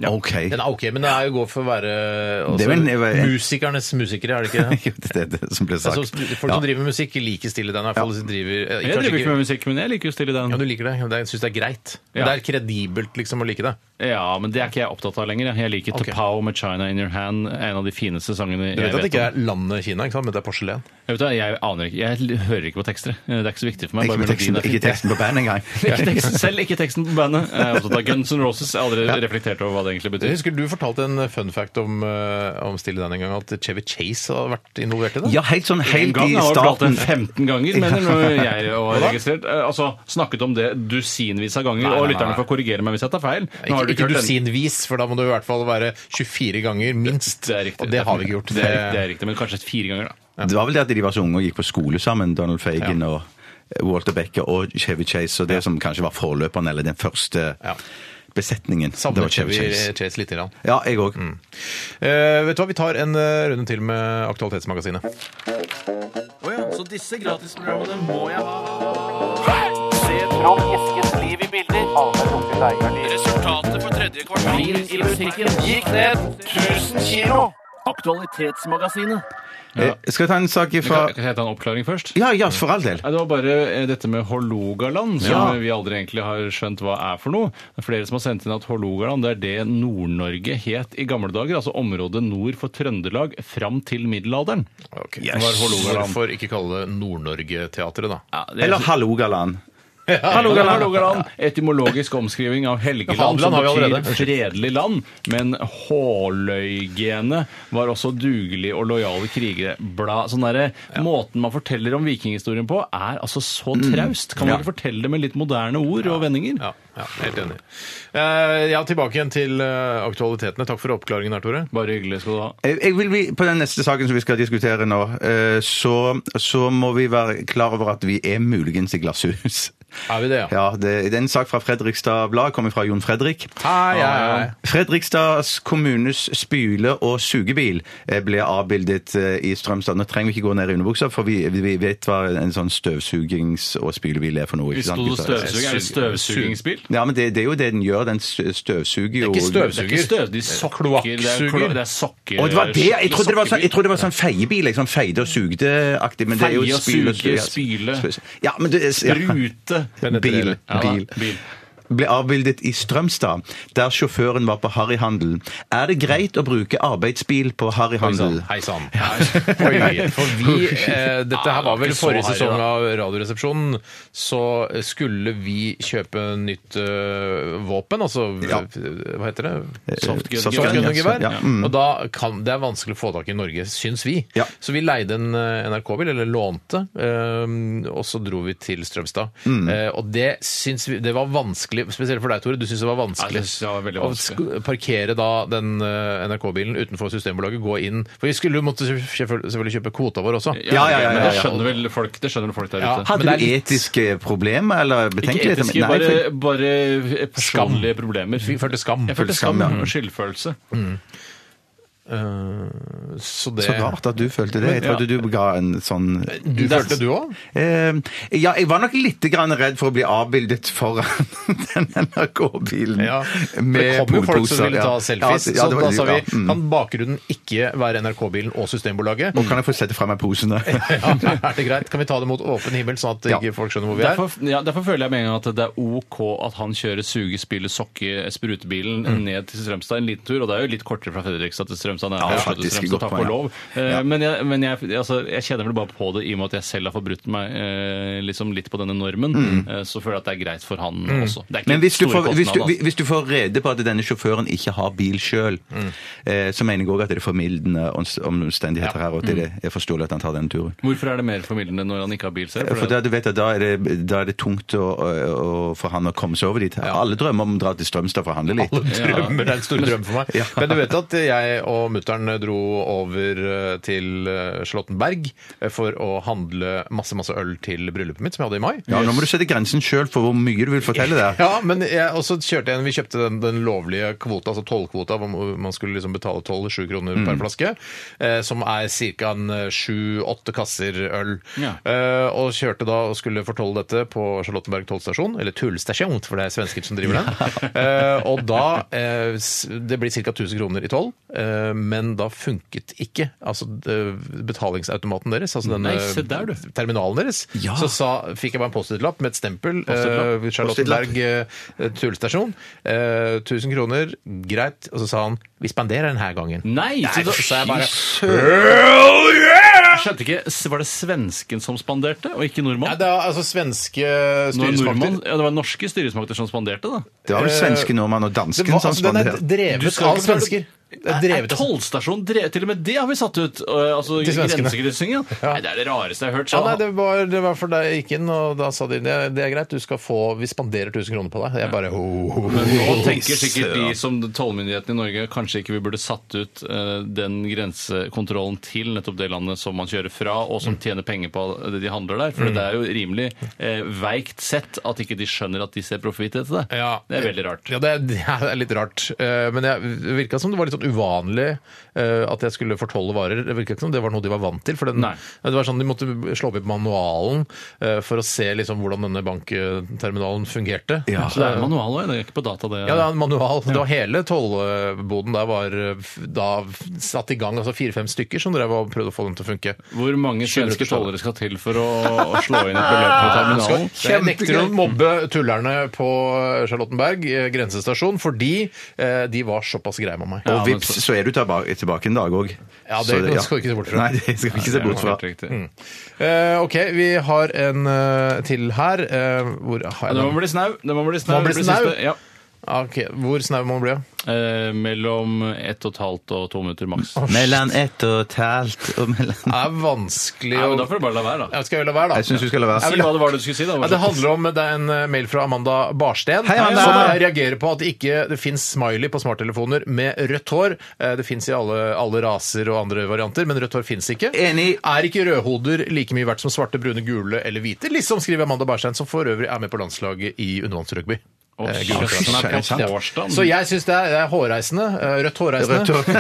OK.
Den er ok, Men det er jo godt for å være
Det
altså,
er vel-
musikernes musikere, er det ikke det?
Jo, det er det som ble sagt.
sånn
Altså, folk som driver med musikk, liker stille den. i hvert fall, de driver, eh,
Jeg
kanskje
driver ikke med musikk, men jeg liker jo stille den.
ja, du liker det. Jeg syns det er greit.
Ja.
Det er kredibelt liksom å like det.
Ja, men det er ikke jeg opptatt av lenger. jeg. Jeg liker
Ok.
okay. Tapao med China in your hand, en av de fineste sangene
Du vet at det ikke
om.
er landet Kina, ikke sant? men det er porselen?
Jeg, vet, hva, jeg aner ikke. Jeg l- hører ikke på tekster. jeg. Det er ikke så viktig for meg.
Ikke,
bare
med teksten,
melodien er fin.
ikke teksten på bandet engang.
Ikke teksten selv, ikke teksten på bandet. Jeg er opptatt av Guns N' Roses. Jeg har aldri reflektert over hva det egentlig
Jeg
betyr.
husker du fortalte en fun fact om, eh, om Stille Dan en gang, at Chevy Chase har vært involvert i det?
Ja, helt sånn
En
helt
gang
i
har jeg
starten.
den 15 ganger, mener nå jeg og har registrert. Eh, Altså, snakket om det dusinvis av ganger,
Nei, nei,
og
nei,
lytterne
nei.
får korrigere meg hvis jeg tar feil. Nå
Ikke,
har du
ikke
hørt den.
dusinvis, for da må det i hvert fall være 24 ganger minst.
Det er riktig.
Og det har vi ikke gjort.
Det er, det er riktig, men kanskje fire ganger, da.
Det var vel det at de var så unge og gikk på skole sammen, Donald Fagan og eh, Walter Becker og Chevy Chase, og det som kanskje var forløperen, eller den første
Ja.
besetningen. Det
Savner
var Chevy Chase.
Chase litt. Grann.
Ja, jeg òg.
Mm.
Eh, vet du hva, vi tar en eh, runde til med Aktualitetsmagasinet.
Så disse gratisprogrammene må jeg ha. Resultatet på tredje kvartal i musikken gikk ned 1000 kilo. Aktualitetsmagasinet.
Eh, Skal jeg ta en sak ifra
Kan kan jeg ta en oppklaring først?
Ja, ja, for all del.
Nei, Det var bare eh, dette med Hålogaland, som
Ja.
eh, vi aldri egentlig har skjønt hva er for noe. Det er flere som har sendt inn at Hålogaland det er det Nord-Norge het i gamle dager. Altså området nord for Trøndelag fram til middelalderen.
Okay.
Yes.
Var Hålogaland. Hvorfor ikke kalle det Nord-Norge-teatret, da?
Eller Hallogaland.
Hålogaland, Hålogaland. Etymologisk omskriving av Helgeland,
Hadeland
som
har vi
betyr
allerede.
fredelig land. Men Håløygene var også dugelige og lojale krigere. Bla, sånn derre Måten man forteller om vikinghistorien på, er altså så traust. Kan man ikke fortelle det med litt moderne ord og vendinger?
Mm. Ja, ja, helt enig. Eh, ja, tilbake igjen til eh, aktualitetene. Takk for oppklaringen her, Tore.
Bare hyggelig skal du ha.
Jeg jeg vil, vi- på den neste saken som vi skal diskutere nå, eh, så, så må vi være klar over at vi er muligens i glasshus.
Er vi det, ja?
Ja, det, det er en sak fra Fredrikstad Blad, kommer fra Jon Fredrik.
Hei, hei, hei.
Fredrikstads kommunes spyle- og sugebil eh, ble avbildet eh, i Strømstad. Nå trenger vi ikke gå ned i underbuksa, for vi, vi vet hva en sånn støvsugings- og spylebil er for noe.
Hvis
Ikke sant?
du
gutta?
støvsuger, er det støvsugingsbil?
Ja, men det, det er jo det den gjør. Den stø- støvsuger Eh, jo
Det er ikke
Det er
støvsuger.
ikke støv, de sokker. Det er,
Kloakksuger.
klo, det er sokker.
Og det var det, jeg
skikkelig
trodde det var sånn, jeg
sokkebil.
trodde det var sånn feiebil, liksom feide og sugde-aktig, men det er jo
Feie og
spyl og
suge,
ja,
spyle.
spys- Ja, men det er ja.
Rute.
Bil.
Ja, da,
Bil.
bil.
Ble avbildet i Strømstad, der sjåføren var på harryhandel. Er det greit å bruke arbeidsbil på harryhandel?
Hei sann. Oi, For vi eh, Dette her var vel
ikke så
forrige
harry,
sesong
da.
av Radioresepsjonen. Så skulle vi kjøpe nytt eh, våpen, altså
Ja.
Hva heter det?
Softgun-
Eh, ja.
Softgun-gevær.
Ja, mm.
Og da kan Det er vanskelig å få tak i i Norge, syns vi.
Ja.
Så vi leide en eh, NRK-bil, eller lånte, eh, og så dro vi til Strømstad.
Mm.
Eh, Og det syns vi Det var vanskelig, spesielt for deg, Tore. Du syns det var
Ja,
vanskelig.
det synes jeg var veldig
Å
vanskelig.
sk- parkere da den eh, NRK-bilen utenfor Systembolaget, gå inn For vi skulle jo måtte selvfø- selvfølgelig kjøpe kvota vår også.
Ja, ja, ja,
men
ja,
Det
ja.
skjønner vel folk, det skjønner folk der
Ja.
ute.
Hadde
Men det
du
er litt-
etiske problemer eller
Ikke
betenkeligheter? Nei,
etiske,
for-
bare, bare personlige problemer.
Vi følte skam.
Jeg følte
skam,
skam
ja.
og skyldfølelse.
Eh, så det
Så rart at du følte det. Jeg trodde du ga en sånn
Du følte du òg?
Eh, ja, jeg var nok litt grann redd for å bli avbildet foran den NRK-bilen.
Ja. det kom jo folk som ville ta selfies, så da sa vi
Mm.
kan bakgrunnen ikke være NRK-bilen og Systembolaget?
Og kan jeg få sette fra meg posene?
Ja, er det greit? Kan vi ta det mot åpen himmel, sånn at ikke folk skjønner hvor vi er?
Derfor, ja, derfor føler jeg med en gang at det er OK at han kjører suge, spille, sokke, sprutebilen
Mm.
ned til Strømstad en liten tur. Og det er jo litt kortere fra Fredrikstad til Strømstad. enn det er
Ja,
fra Oslo til
faktisk,
Strømstad,
godt
takk
poeng,
og
ja.
lov. Eh, Men, jeg, men jeg, altså, jeg kjenner vel bare på det i og med at jeg selv har forbrutt meg eh, liksom litt på denne normen. eh, Så føler jeg at det er greit for han også. Det er ikke
Mm. Men hvis du,
store
får, hvis, du,
kostnader, altså.
hvis du får rede på at denne sjåføren ikke har bil sjøl,
Mm.
eh, så mener jeg òg at det er formildende omst- omstendigheter her, og at
Mm.
det er forståelig at han tar denne turen.
Hvorfor er det mer formildende når han ikke har bil selv?
For da, du vet at da er det, da er det tungt å, å, å, for han å komme seg over dit. Alle drømmer om å dra til Strømstad for å handle litt.
Drømmer, det er en stor drøm for meg. Men du vet at jeg og mutter'n dro over eh, til eh, Slåttenberg eh, for å handle masse masse øl til bryllupet mitt, som jeg hadde i mai.
Ja, nå må du sette grensen sjøl for hvor mye du vil fortelle der.
Ja, men jeg, og så kjørte jeg en, vi kjøpte den, den lovlige kvota, altså tollkvota, hvor man skulle liksom betale tolv, sju kroner per
Mm.
flaske, eh, som er ca. sju-åtte kasser øl.
Ja.
Eh, og kjørte da og skulle fortolle dette på Charlottenberg tollstasjon, eller tullstasjon, for det er svensker som driver den. Eh, og da eh, s- Det blir ca. 1000 kroner i toll, eh, eh, men da funket ikke altså, eh, betalingsautomaten deres, altså den
Nei,
eh,
se der, du.
terminalen deres.
Ja.
Så sa, fikk jeg bare en Post-It-lapp med et stempel.
Post-it-lapp.
eh, Charlottenberg eh, tullestasjon. Eh, 1000 kroner, greit. Og så sa han vi spanderer den her gangen.
Nei!
Nei,
så da-
så jeg bare,
Jeg skjønte ikke, s- Var det svensken som spanderte, og ikke
Nei,
nordmann?
det er altså svenske
Nå er
styresmakter.
nordmann ja, det var norske styresmakter som spanderte, da.
Det var vel svenske nordmann og
Eh, Det
dansken
var,
som
altså, den er
spanderte.
Du
drevet
skal
av
ikke prøve-
svensker. Det er
Er
drevet av
tollstasjon dre- Til og med det har vi satt ut. øh, altså
Til svenskene.
Grensekryssing, ja.
Ja.
Nei, det er det rareste jeg har hørt.
Ja,
Så
nei, det var, det var for da jeg gikk inn, og da sa de det, det er greit, du skal få, vi spanderer 1000 kroner på deg. Jeg bare ho, ho, ho.
Men nå tenker sikkert de som tollmyndighetene i Norge kanskje ikke vi burde satt ut eh, den grensekontrollen til nettopp det landet som man kjører fra, og
Mm.
som tjener penger på det de handler der. For det er jo rimelig eh, veikt sett at ikke de skjønner at de ser profitt etter det. Det er veldig rart.
Ja, det er, det er litt rart. Eh, Men jeg- det virka som det var litt sånn uvanlig eh, at jeg skulle fortolle varer. Det virka ikke som det var noe de var vant til. For den,
Nei.
det var sånn De måtte slå opp i manualen eh, for å se liksom hvordan denne bankterminalen fungerte.
Ja,
Så
det er manual òg, det er ikke på data, det.
Ja, det er en manual. Det var hele tollboden der var eh, f- da f- satt i gang altså fire-fem stykker som drev og prøvde å få den til å funke.
Hvor mange svenske
700
tollere skal til for å, å slå inn et beløp
Ah,
på terminalen?
Jeg nekter å mobbe tullerne på Charlottenberg eh, grensestasjon fordi eh, de var såpass greie med meg.
Og vips, så er du tilbake, tilbake en dag òg.
Ja, det skal du ikke se bort fra.
Nei, det skal vi ikke se bort fra.
Helt riktig.
Eh, OK, vi har en eh, til her. Eh, hvor har
Ja, Det
jeg
må
den?
bli snau. Det må bli snau.
Må bli
Det blir
snau?
siste. Ja.
Ok, Hvor snau må man bli? da?
Eh, mellom ett og et halvt og to minutter maks.
Mellom ett og et halvt og mellom
Det er vanskelig
Nei,
å
men Da får du bare la være, da.
Jeg skal jo la være, da.
Jeg syns du skal la være.
Si hva det var du skulle si, da.
Ja, det handler om det er en eh, mail fra Amanda Barsten
Hei, Amanda!
som reagerer på at det ikke det fins smiley på smarttelefoner med rødt hår. Eh, Det fins i alle, alle raser og andre varianter, men rødt hår fins ikke.
Enig.
Er ikke rødhoder like mye verdt som svarte, brune, gule eller hvite? Liksom skriver Amanda Barstein, som for øvrig er med på landslaget i undervannsrugby.
Å,
Eh,
shit,
gule
altså,
klassen.
den er på
Ja.
torsdagen.
Så jeg syns det er det er hårreisende. eh, Rødt hårreisende.
Rødt hår.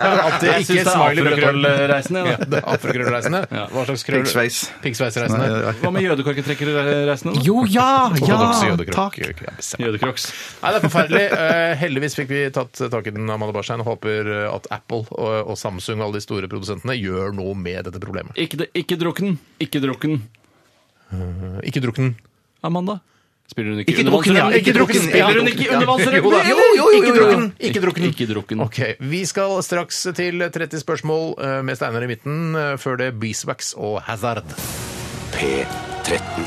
At det
Jeg syns
ikke er
det er
smiley på krøll.
afrokrøllreisende.
Ja,
Ja.
det er afrokrøllreisende. Hva slags krøll?
Piggsveis.
Piggsveisreisende.
Nei, ja,
Hva med jødekorketrekkerreisende? da?
Jo, ja!
Ortodokse
Ja!
jødekrok.
Takk.
Ja, bestemmer.
Jødekroks.
Nei, det er forferdelig. Eh, heldigvis fikk vi tatt tak i den, Amanda Barstein, og håper eh, at Apple og, og Samsung og alle de store produsentene gjør noe med dette problemet.
Ikke, det- ikke drukken. Ikke drukken.
Eh, Ikke drukk den.
Amanda. Spiller hun ikke,
Ikke drukken, ja.
undervannsrugby?
Ikke drukken.
Spiller hun ikke
Ja.
undervannsrugby?
Jo da. Jo, jo, jo, jo, jo. Ikke
Ikke
drukken.
drukken. Ikke drukken.
Ok, Vi skal straks til 30 spørsmål eh, med Steinar i midten, eh, før det Beeswax og Hazard.
P13.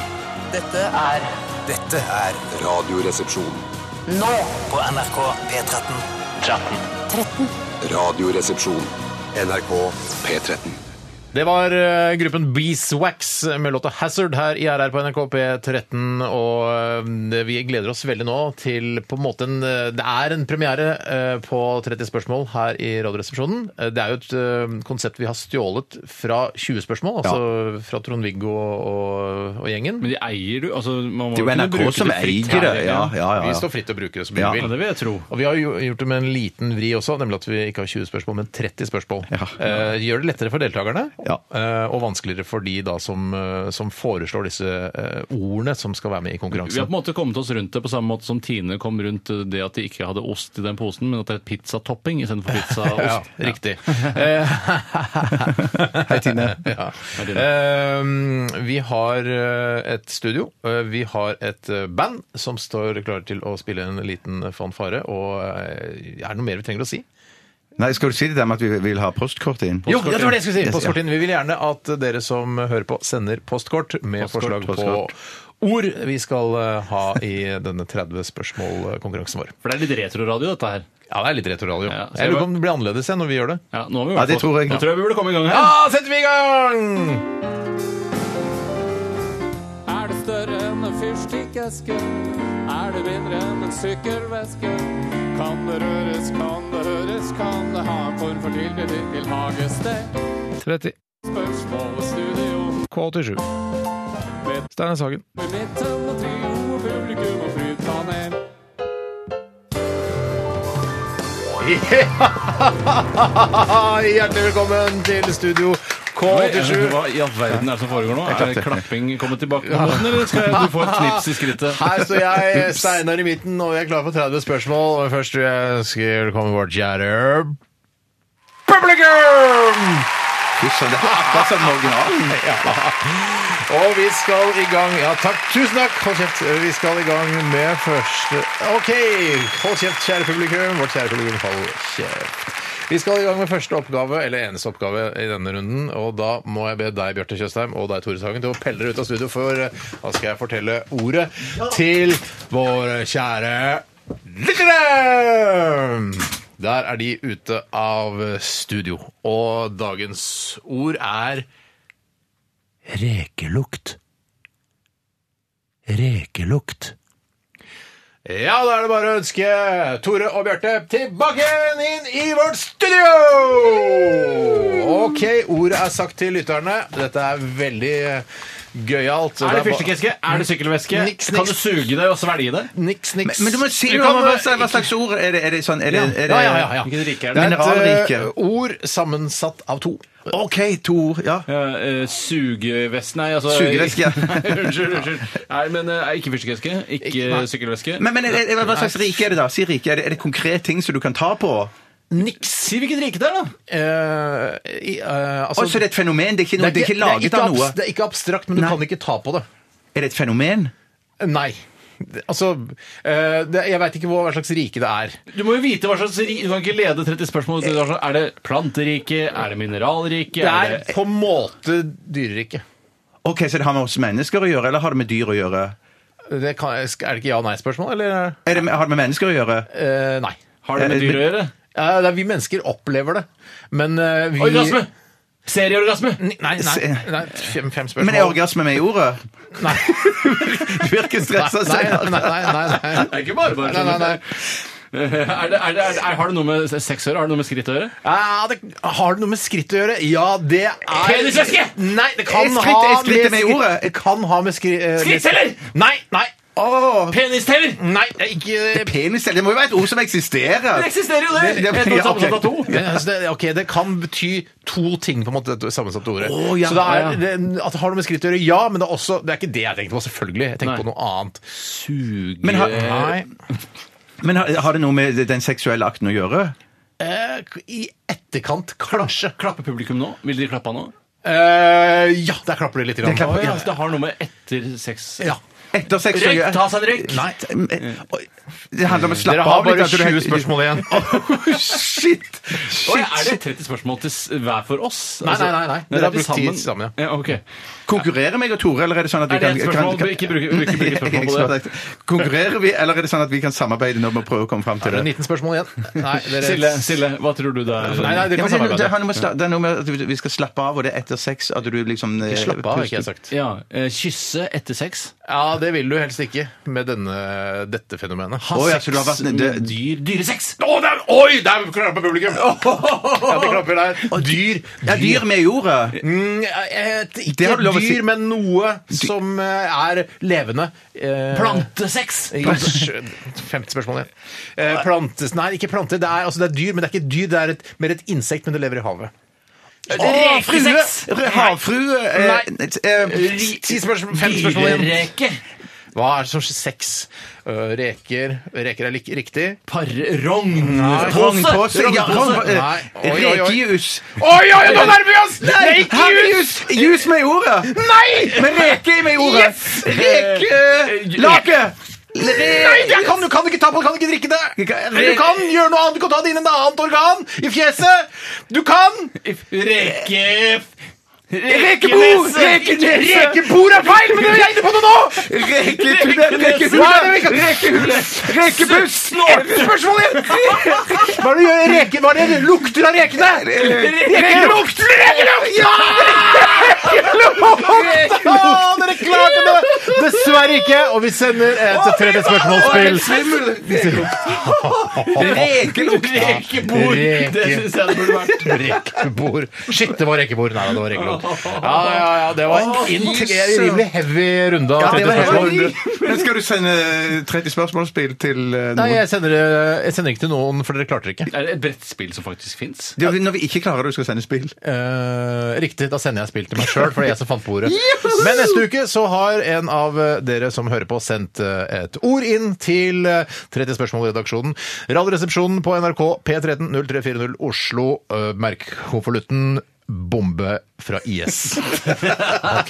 Dette er Dette er
Radioresepsjon.
nå på NRK P13.
Radioresepsjon. NRK P13.
Det var eh, gruppen Beeswax med låta 'Hazard' her i RR på NRK P13. Og eh, vi gleder oss veldig nå til på en måte en eh, Det er en premiere eh, på 30 spørsmål her i Radioresepsjonen. Eh, Det er jo et eh, konsept vi har stjålet fra 20 spørsmål, altså fra Trond-Viggo og, og gjengen.
Men de eier du altså, man må
Det er jo
kunne
NRK
bruke
som
det fritt
eier det.
her,
Ja, ja, ja.
Vi
ja.
står fritt til å bruke det så mye
Ja.
vi
Ja,
vil.
det vil jeg tro.
Og vi har jo gjort det med en liten vri også, nemlig at vi ikke har 20 spørsmål, men 30 spørsmål.
Ja.
Eh, gjør det lettere for deltakerne,
Ja.
eh, og vanskeligere for de da som, eh, som foreslår disse eh, ordene som skal være med
Vi
i
har på
konkurransen.
en måte kommet oss rundt det på samme måte som Tine kom rundt det at de ikke hadde ost i den posen, men at det er pizzatopping istedenfor
Ja,
pizzaost.
riktig. Eh,
Hei, Tine.
ja.
Hei, Tine.
Eh, vi har eh, et studio. eh, Vi har et eh, band som står klare til å spille en liten fanfare. Og eh, er det noe mer vi trenger å si?
Nei, skal du si det der med at vi vil ha postkortet inn?
Jo, ja, det var det jeg skulle si.
Yes,
Postkort inn. Vi vil gjerne at dere som hører på, sender postkort med
Postkort,
forslag på ord vi skal eh, ha i denne 30 spørsmål-konkurransen vår.
For det er litt retroradio, dette her.
Ja, det er litt retorradio.
Ja, så
jeg lurer
jeg
på om det blir annerledes enn når vi gjør det.
Ja, nå har vi
Ja,
i hvert
det
fall-
tror jeg.
Nå tror jeg vi burde komme i gang her.
Ja, setter vi i gang!
Er det større enn en fyrstikkeske? Er det mindre enn en sykkelveske? Kan det røres, kan det høres, kan det ha en form for tilknytning til hagested?
30
Spørsmål i studio
K87. Steinar Sagen.
i midten og trio og publikum og flypanel.
Hjertelig velkommen til studio K87.
Hva i all verden er det som foregår nå? Er det klapping kommer tilbake på måten, eller skal jeg, du få et knips i skrittet?
Her står jeg, Steinar i midten, og vi er klare for 30 spørsmål. Og først vil jeg ønske velkommen vårt kjære publikum!
Fy søren, det er akkurat som originalen.
Ja. Og vi skal i gang Ja, takk. Tusen takk. Hold kjeft. Vi skal i gang med første OK. Hold kjeft, kjære publikum. Vårt kjære publikum, hold kjeft. Vi skal i gang med første oppgave, eller eneste oppgave i denne runden. Og da må jeg be deg, Bjarte Tjøstheim, og deg, Tore Sagen, til å pelle dere ut av studio, for eh, da skal jeg fortelle ordet til våre kjære lyttere! Der er de ute av studio. Og dagens ord er Rekelukt. Rekelukt. Ja, da er det bare å ønske Tore og Bjarte tilbake igjen inn i vårt studio! OK, ordet er sagt til lytterne. Dette er veldig eh, gøyalt.
Er det fyrstikkeske? Er det sykkelveske?
Niks,
Kan du
niks.
suge deg og svelge det?
Niks, niks.
Men du må si
Du
noe
kan, eh,
om hva, hva slags ord er det, er det sånn er det, er det,
Ja, ja, ja, ja.
Hvilken rike er
Det
det?
er et
Mineralrike.
eh, ord sammensatt av to.
OK, to ord. Ja.
Uh, sugevest Nei, altså
Sugeveske.
Nei, unnskyld. unnskyld Nei, men eh, Ikke fyrstikkeske, ikke sykkelveske.
Men, men er, er, hva slags rike er det, da? Si rike. Er det, er det konkrete ting som du kan ta på?
Niks.
Si hvilket rike det er, da!
eh, i, eh, altså-
Og så er det et fenomen. Det er ikke, noe, det er ikke
det er
laget
ikke
av noe.
abs- Det er ikke abstrakt, men du
Nei.
kan ikke ta på det.
Er det et fenomen?
Nei. Det- Altså, eh, det, jeg veit ikke hva hva slags rike det er.
Du må jo vite hva slags ri- Du kan ikke lede 30 spørsmål til hva slags- Er det planterike? Er det mineralrike?
Det er på en måte dyreriket.
Ok, Så det har med oss mennesker å gjøre, eller har det med dyr å gjøre?
Det kan, er det ikke ja-nei-spørsmål, eller?
Er det, med- har det med mennesker å gjøre?
Eh, nei.
Har det med dyr å gjøre?
Eh, det er, vi mennesker opplever det, men eh, vi
Orgasme! Serieorgasme!
Nei, nei, nei,
Se-
nei fem, fem spørsmål.
Men er orgasme med i ordet?
Nei,
Du virker stressa.
nei, nei, nei, nei, nei.
Det er ikke bare bare
Nei, nei, nei.
Er det, er det, er, det- har det noe med sex å gjøre? Har det noe med skritt å gjøre?
Ja, det, har det noe med skritt å gjøre? Ja, det er
Penisvæske!
Nei, det kan
Er skritt-
ha
er skrittet med i ordet?
Det kan ha med skri... eh, med-
Skrittceller!
Nei, nei,
Åh,
Penisteller!
nei, det er ikke
penis Det må jo være et ord som eksisterer.
Det eksisterer jo, det!
Det- det-
Et og
ja, ok.
sammensatt av to.
Men, altså, det, ok, det kan bety to ting, på en måte, dette sammensatte ordet.
Å, ja,
så det
ja,
er,
ja.
det, at det har noe med skritt å gjøre, ja, men det er også Det er ikke det jeg tenkte på, selvfølgelig. Jeg tenkte
Nei.
på noe annet.
Suge
Men har-
Nei.
Men har, har det noe med den seksuelle akten å gjøre?
Eh, I etterkant, kanskje.
Klapper publikum nå? Vil de klappe nå?
Eh, ja, der klapper det litt. Grann.
Å ja, så det har noe med etter sex
ja.
Etter sex å
Røyk!
gjøre?
Ta seg en røyk!
Nei.
Oi, Det handler om å slappe
Dere har
av litt,
bare
at du-
20 spørsmål igjen.
Åh, shit!
Oi, er det
shit.
30 spørsmål til s- hver for oss? Altså,
Nei, nei, nei, nei.
det
Dere har
er til
brukt tid sammen, ja.
ja. ok.
Konkurrerer meg og Tore, eller er det sånn at vi
Er det
kan
ett spørsmål?
kan-
Ikke bruke- bruke- bruke spørsmål på det.
Konkurrerer vi, eller er det sånn at vi kan samarbeide nå med å prøve å komme fram til
Det er
det?
19 spørsmål igjen. Nei, dere,
Sille, Sille, hva tror du det er?
Nei, nei,
Ja, men
dere kan
det, det,
samarbeide.
har noe med, sla- det er noe med at vi skal slappe av, og det er etter sex at du liksom eh,
Slapp av, har ikke jeg
puster.
sagt.
Ja, eh, Kysse etter sex?
Ja, det vil du helst ikke med denne, dette fenomenet.
Ha
Å, ja,
sex
så du har vært-
med
det-
mm, dyr? Dyresex!
Å, der, oi, der klapper publikum! Ja, de klapper der. Dyr.
Ja, dyr med i ordet.
Mm, et,
Det
ikke
har du lov å si.
dyr, men noe som eh, er levende. Eh,
Plantesex!
i- Femte spørsmål igjen. Eh, plantes Nei, ikke planter. Det er, altså, det er dyr, men det er ikke dyr. Det er et, mer et insekt, men det lever i havet.
Å, frue!
Rekesex!
Re- Havfrue! eh, eh,
Ti- ti spørsmål, fem spørsmål igjen.
Dyrereke!
Hva er sånn sex? Eh, reker Reker er lik, riktig.
Parrogn!
Rognpose! Ja, altså, eh, rognpose.
Rognpose. Nei, oi, oi, oi.
Rekejus!
Oi, oi, nå nærmer vi oss!
Nei, havjus! Jus med i ordet! Nei! Med reke med i ordet.
Yes! Eh,
Reke... Lake!
Nei, jeg kan, du kan ikke ta på, du kan ikke drikke det! Men du kan gjøre noe annet, du kan ta det inn i et annet organ, i fjeset! Du kan!
Reke...
Rekebord! Rekenese!
Rekebord er feil, men dere regner på det nå!
Reketunnel! Rekehule! Rekehule! Rekebuss!
Spørsmål igjen! Hva er det du gjør? Reke, hva er det lukter av rekene? Rekelukt! Rekelukt! Ja! Rekelukt! Å, dere klarte det! Dessverre ikke, og vi sender et tredje spørsmålsspill.
Rekelukt!
Rekebord! Det
Reke.
syns jeg det burde vært.
Rekebord. Shit, det var rekebord. Nei, det var rekelukt. Ja, ja, ja, det var en integrerende rimelig heavy runde av
Ja,
30
det var
spørsmål.
heavy. Men skal du sende 30 spørsmålsspill til eh, noen?
Nei, jeg sender, det- jeg sender ikke til noen, for dere klarte det ikke.
Er det et brettspill som faktisk fins?
Det er Når vi ikke klarer det, du skal sende spill.
Eh, riktig, da sender jeg spill til meg sjøl, for det er jeg som fant på ordet. Men neste uke så har en av eh, dere som hører på, sendt eh, et ord inn til eh, 30 spørsmål i redaksjonen. Radioresepsjonen på NRK P13 0340 Oslo. Eh, Merk konvolutten. Bombe fra IS. Ok.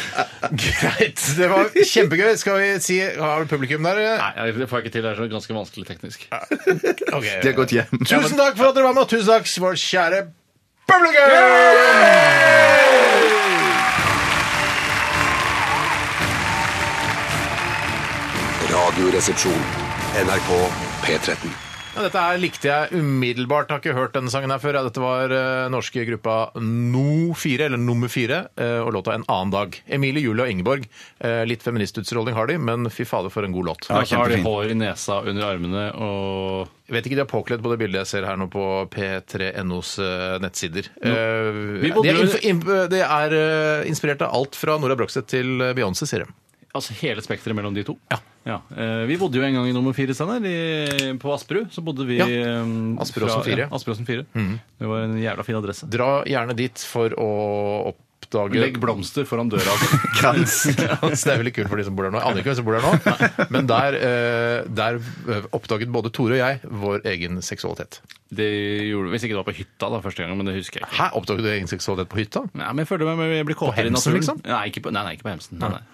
Greit. Det var kjempegøy. Skal vi si Har du publikum der?
Nei, det får jeg ikke til. Det er så ganske vanskelig teknisk.
Ok.
De har gått hjem.
Tusen takk for at dere var med, og tusen takk, vår kjære publikum!
Radioresepsjon. NRK P13.
Ja, dette her likte jeg umiddelbart. Har ikke hørt denne sangen her før. Ja, dette var eh, norske gruppa No4, eller Nummer 4, eh, og låta En annen dag. Emilie, Julie og Ingeborg. Eh, litt feministutstråling har de, men fy fader, for en god låt.
Og så har de hår i nesa, under armene og
Jeg vet ikke, de er påkledd på det bildet jeg ser her nå på p3.nos eh, nettsider.
Vi
Eh,
bodde
de er,
jo-
inf- imp- det er eh, inspirert av alt fra Nora Brogstedt til eh, Beyoncé, sier de.
Altså hele spekteret mellom de to? Ja. Eh, Vi bodde jo en gang i nummer fire, Steinar. i- På Asperud. Så bodde vi
Ja.
eh,
Asperudåsen
fra-
4.
Ja, Asperudåsen 4. Det var en jævla fin adresse.
Dra gjerne dit for å oppdage
Legg blomster foran døra. altså.
Krans.
Så det er veldig kult for de som bor der nå. Jeg aner ikke hvem som bor der nå, men der, eh, der eh, oppdaget både Tore og jeg vår egen seksualitet.
Det gjorde Hvis ikke det var på hytta da første gang, men det husker jeg ikke.
Hæ, oppdaget du egen seksualitet på hytta?
Nei, men jeg føler meg jeg blir kåtere i
Hemsen,
naturen.
liksom?
Nei, ikke på, nei, nei, ikke på Hemsen. Nei, nei.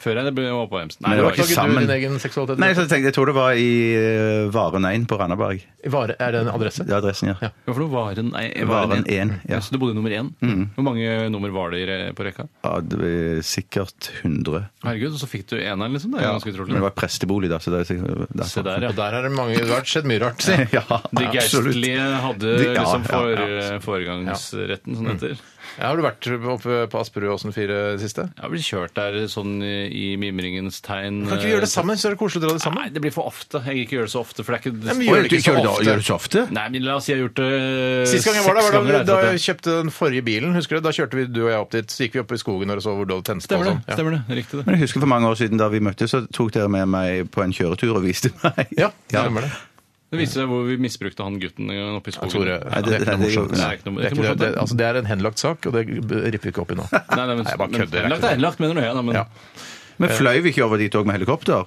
Før jeg ble- var på Hemsen.
Men det var ikke
jeg
sant. Sammen.
Oppdaget du din egen seksualitet?
Nei, så tenkte jeg, jeg tror det var i eh, Varen 1 på Randaberg.
Vare, er det en adresse?
Det er adressen, ja.
Hva for noe? Varen nei,
Varen én, ja.
Så du bodde i nummer én? Hvor mange nummer var det i re- på rekka?
ja det var sikkert 100.
Herregud, og så fikk du eneren, liksom. Det er
Ja.
ganske utrolig.
Men det var prestebolig da, så det er sikkert
Se
derfor.
der, ja.
Og der har det mange det har skjedd mye rart. Si.
Ja,
De
absolutt.
geistlige hadde
De- ja,
liksom
ja,
for,
ja.
foregangsretten, som det heter.
Ja, har du vært oppe på Asperudåsen 4 siste?
Jeg har blitt kjørt der sånn i mimringens tegn. eh,
Kan ikke vi gjøre det sammen? Så er det koselig å dra det sammen.
Nei, det blir for ofte. Jeg gidder ikke gjøre det så ofte, for det er ikke
men vi
Oi,
gjør det ikke så ofte.
Gjør det så ofte?
Nei, men la oss si jeg har gjort det
Eh, Sist gang jeg var der,
seks
var det,
ganger,
da
jeg tror
jeg kjøpte den forrige bilen. husker du? Da kjørte vi du og jeg opp dit. Så gikk vi opp i skogen og så hvor det hadde tent på.
Stemmer det.
og sånn. Ja.
Stemmer det. Riktig det.
Men jeg husker for mange år siden da vi møttes, så tok dere med meg på en kjøretur og viste meg.
Ja, stemmer det.
Det viser seg hvor vi misbrukte han gutten eh, oppe i skogen.
Tore,
Nei,
det
det-
er ikke noe
det er jo-
morsomt.
Nei, det er ikke noe-
Det er, ikke noe,
morsomt,
det,
det.
altså, det er en henlagt sak, og det ripper vi ikke opp i nå.
Nei, nei, men,
Nei, jeg bare
men-
kødder, jeg
henlagt er henlagt, mener du? Ja, nei, men,
Ja.
Men fløy vi ikke over dit òg med helikopter?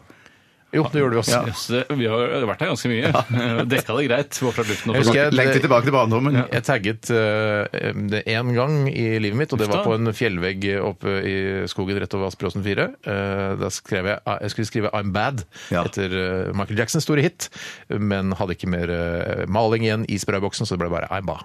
Jo, det gjorde vi også.
Jøss, det- vi har vært her ganske mye. Dekka det greit. Var fra luften og
Jeg husker jeg-
Lengte tilbake til barndommen.
Jeg tagget eh, det én gang i livet mitt, og det var på en fjellvegg oppe i skogen rett over Asperåsen 4. Eh, da skrev jeg, jeg skulle skrive 'I'm Bad'
Ja.
etter eh, Michael Jacksons store hit, men hadde ikke mer eh, maling igjen i sprayboksen, så det ble bare 'I'm Ba'.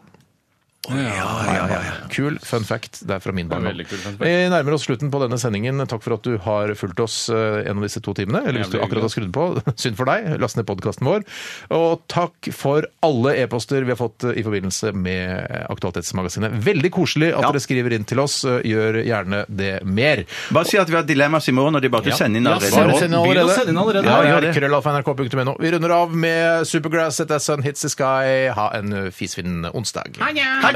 Kul fun fact. Det er fra min barndom.
veldig kul fun fact.
Vi nærmer oss slutten på denne sendingen. Takk for at du har fulgt oss eh, gjennom disse to timene. Eller hvis du
Jævlig
akkurat har skrudd på, synd for deg. Last ned podkasten vår. Og takk for alle e-poster vi har fått eh, i forbindelse med eh, Aktualitetsmagasinet. Veldig koselig at dere skriver inn til oss. Eh, Gjør gjerne det mer.
Bare si at vi har dilemmas i morgen, og de bare til å sende inn
Ja,
allerede.
send-
nå.
send- Begynn å sende inn allerede.
Ja,
Ja, gjør
gjør
det.
krøllalfa.nrk.no. Vi runder av med Supergrass, dette er Sun Hits The Sky. Ha en eh, fisfin onsdag.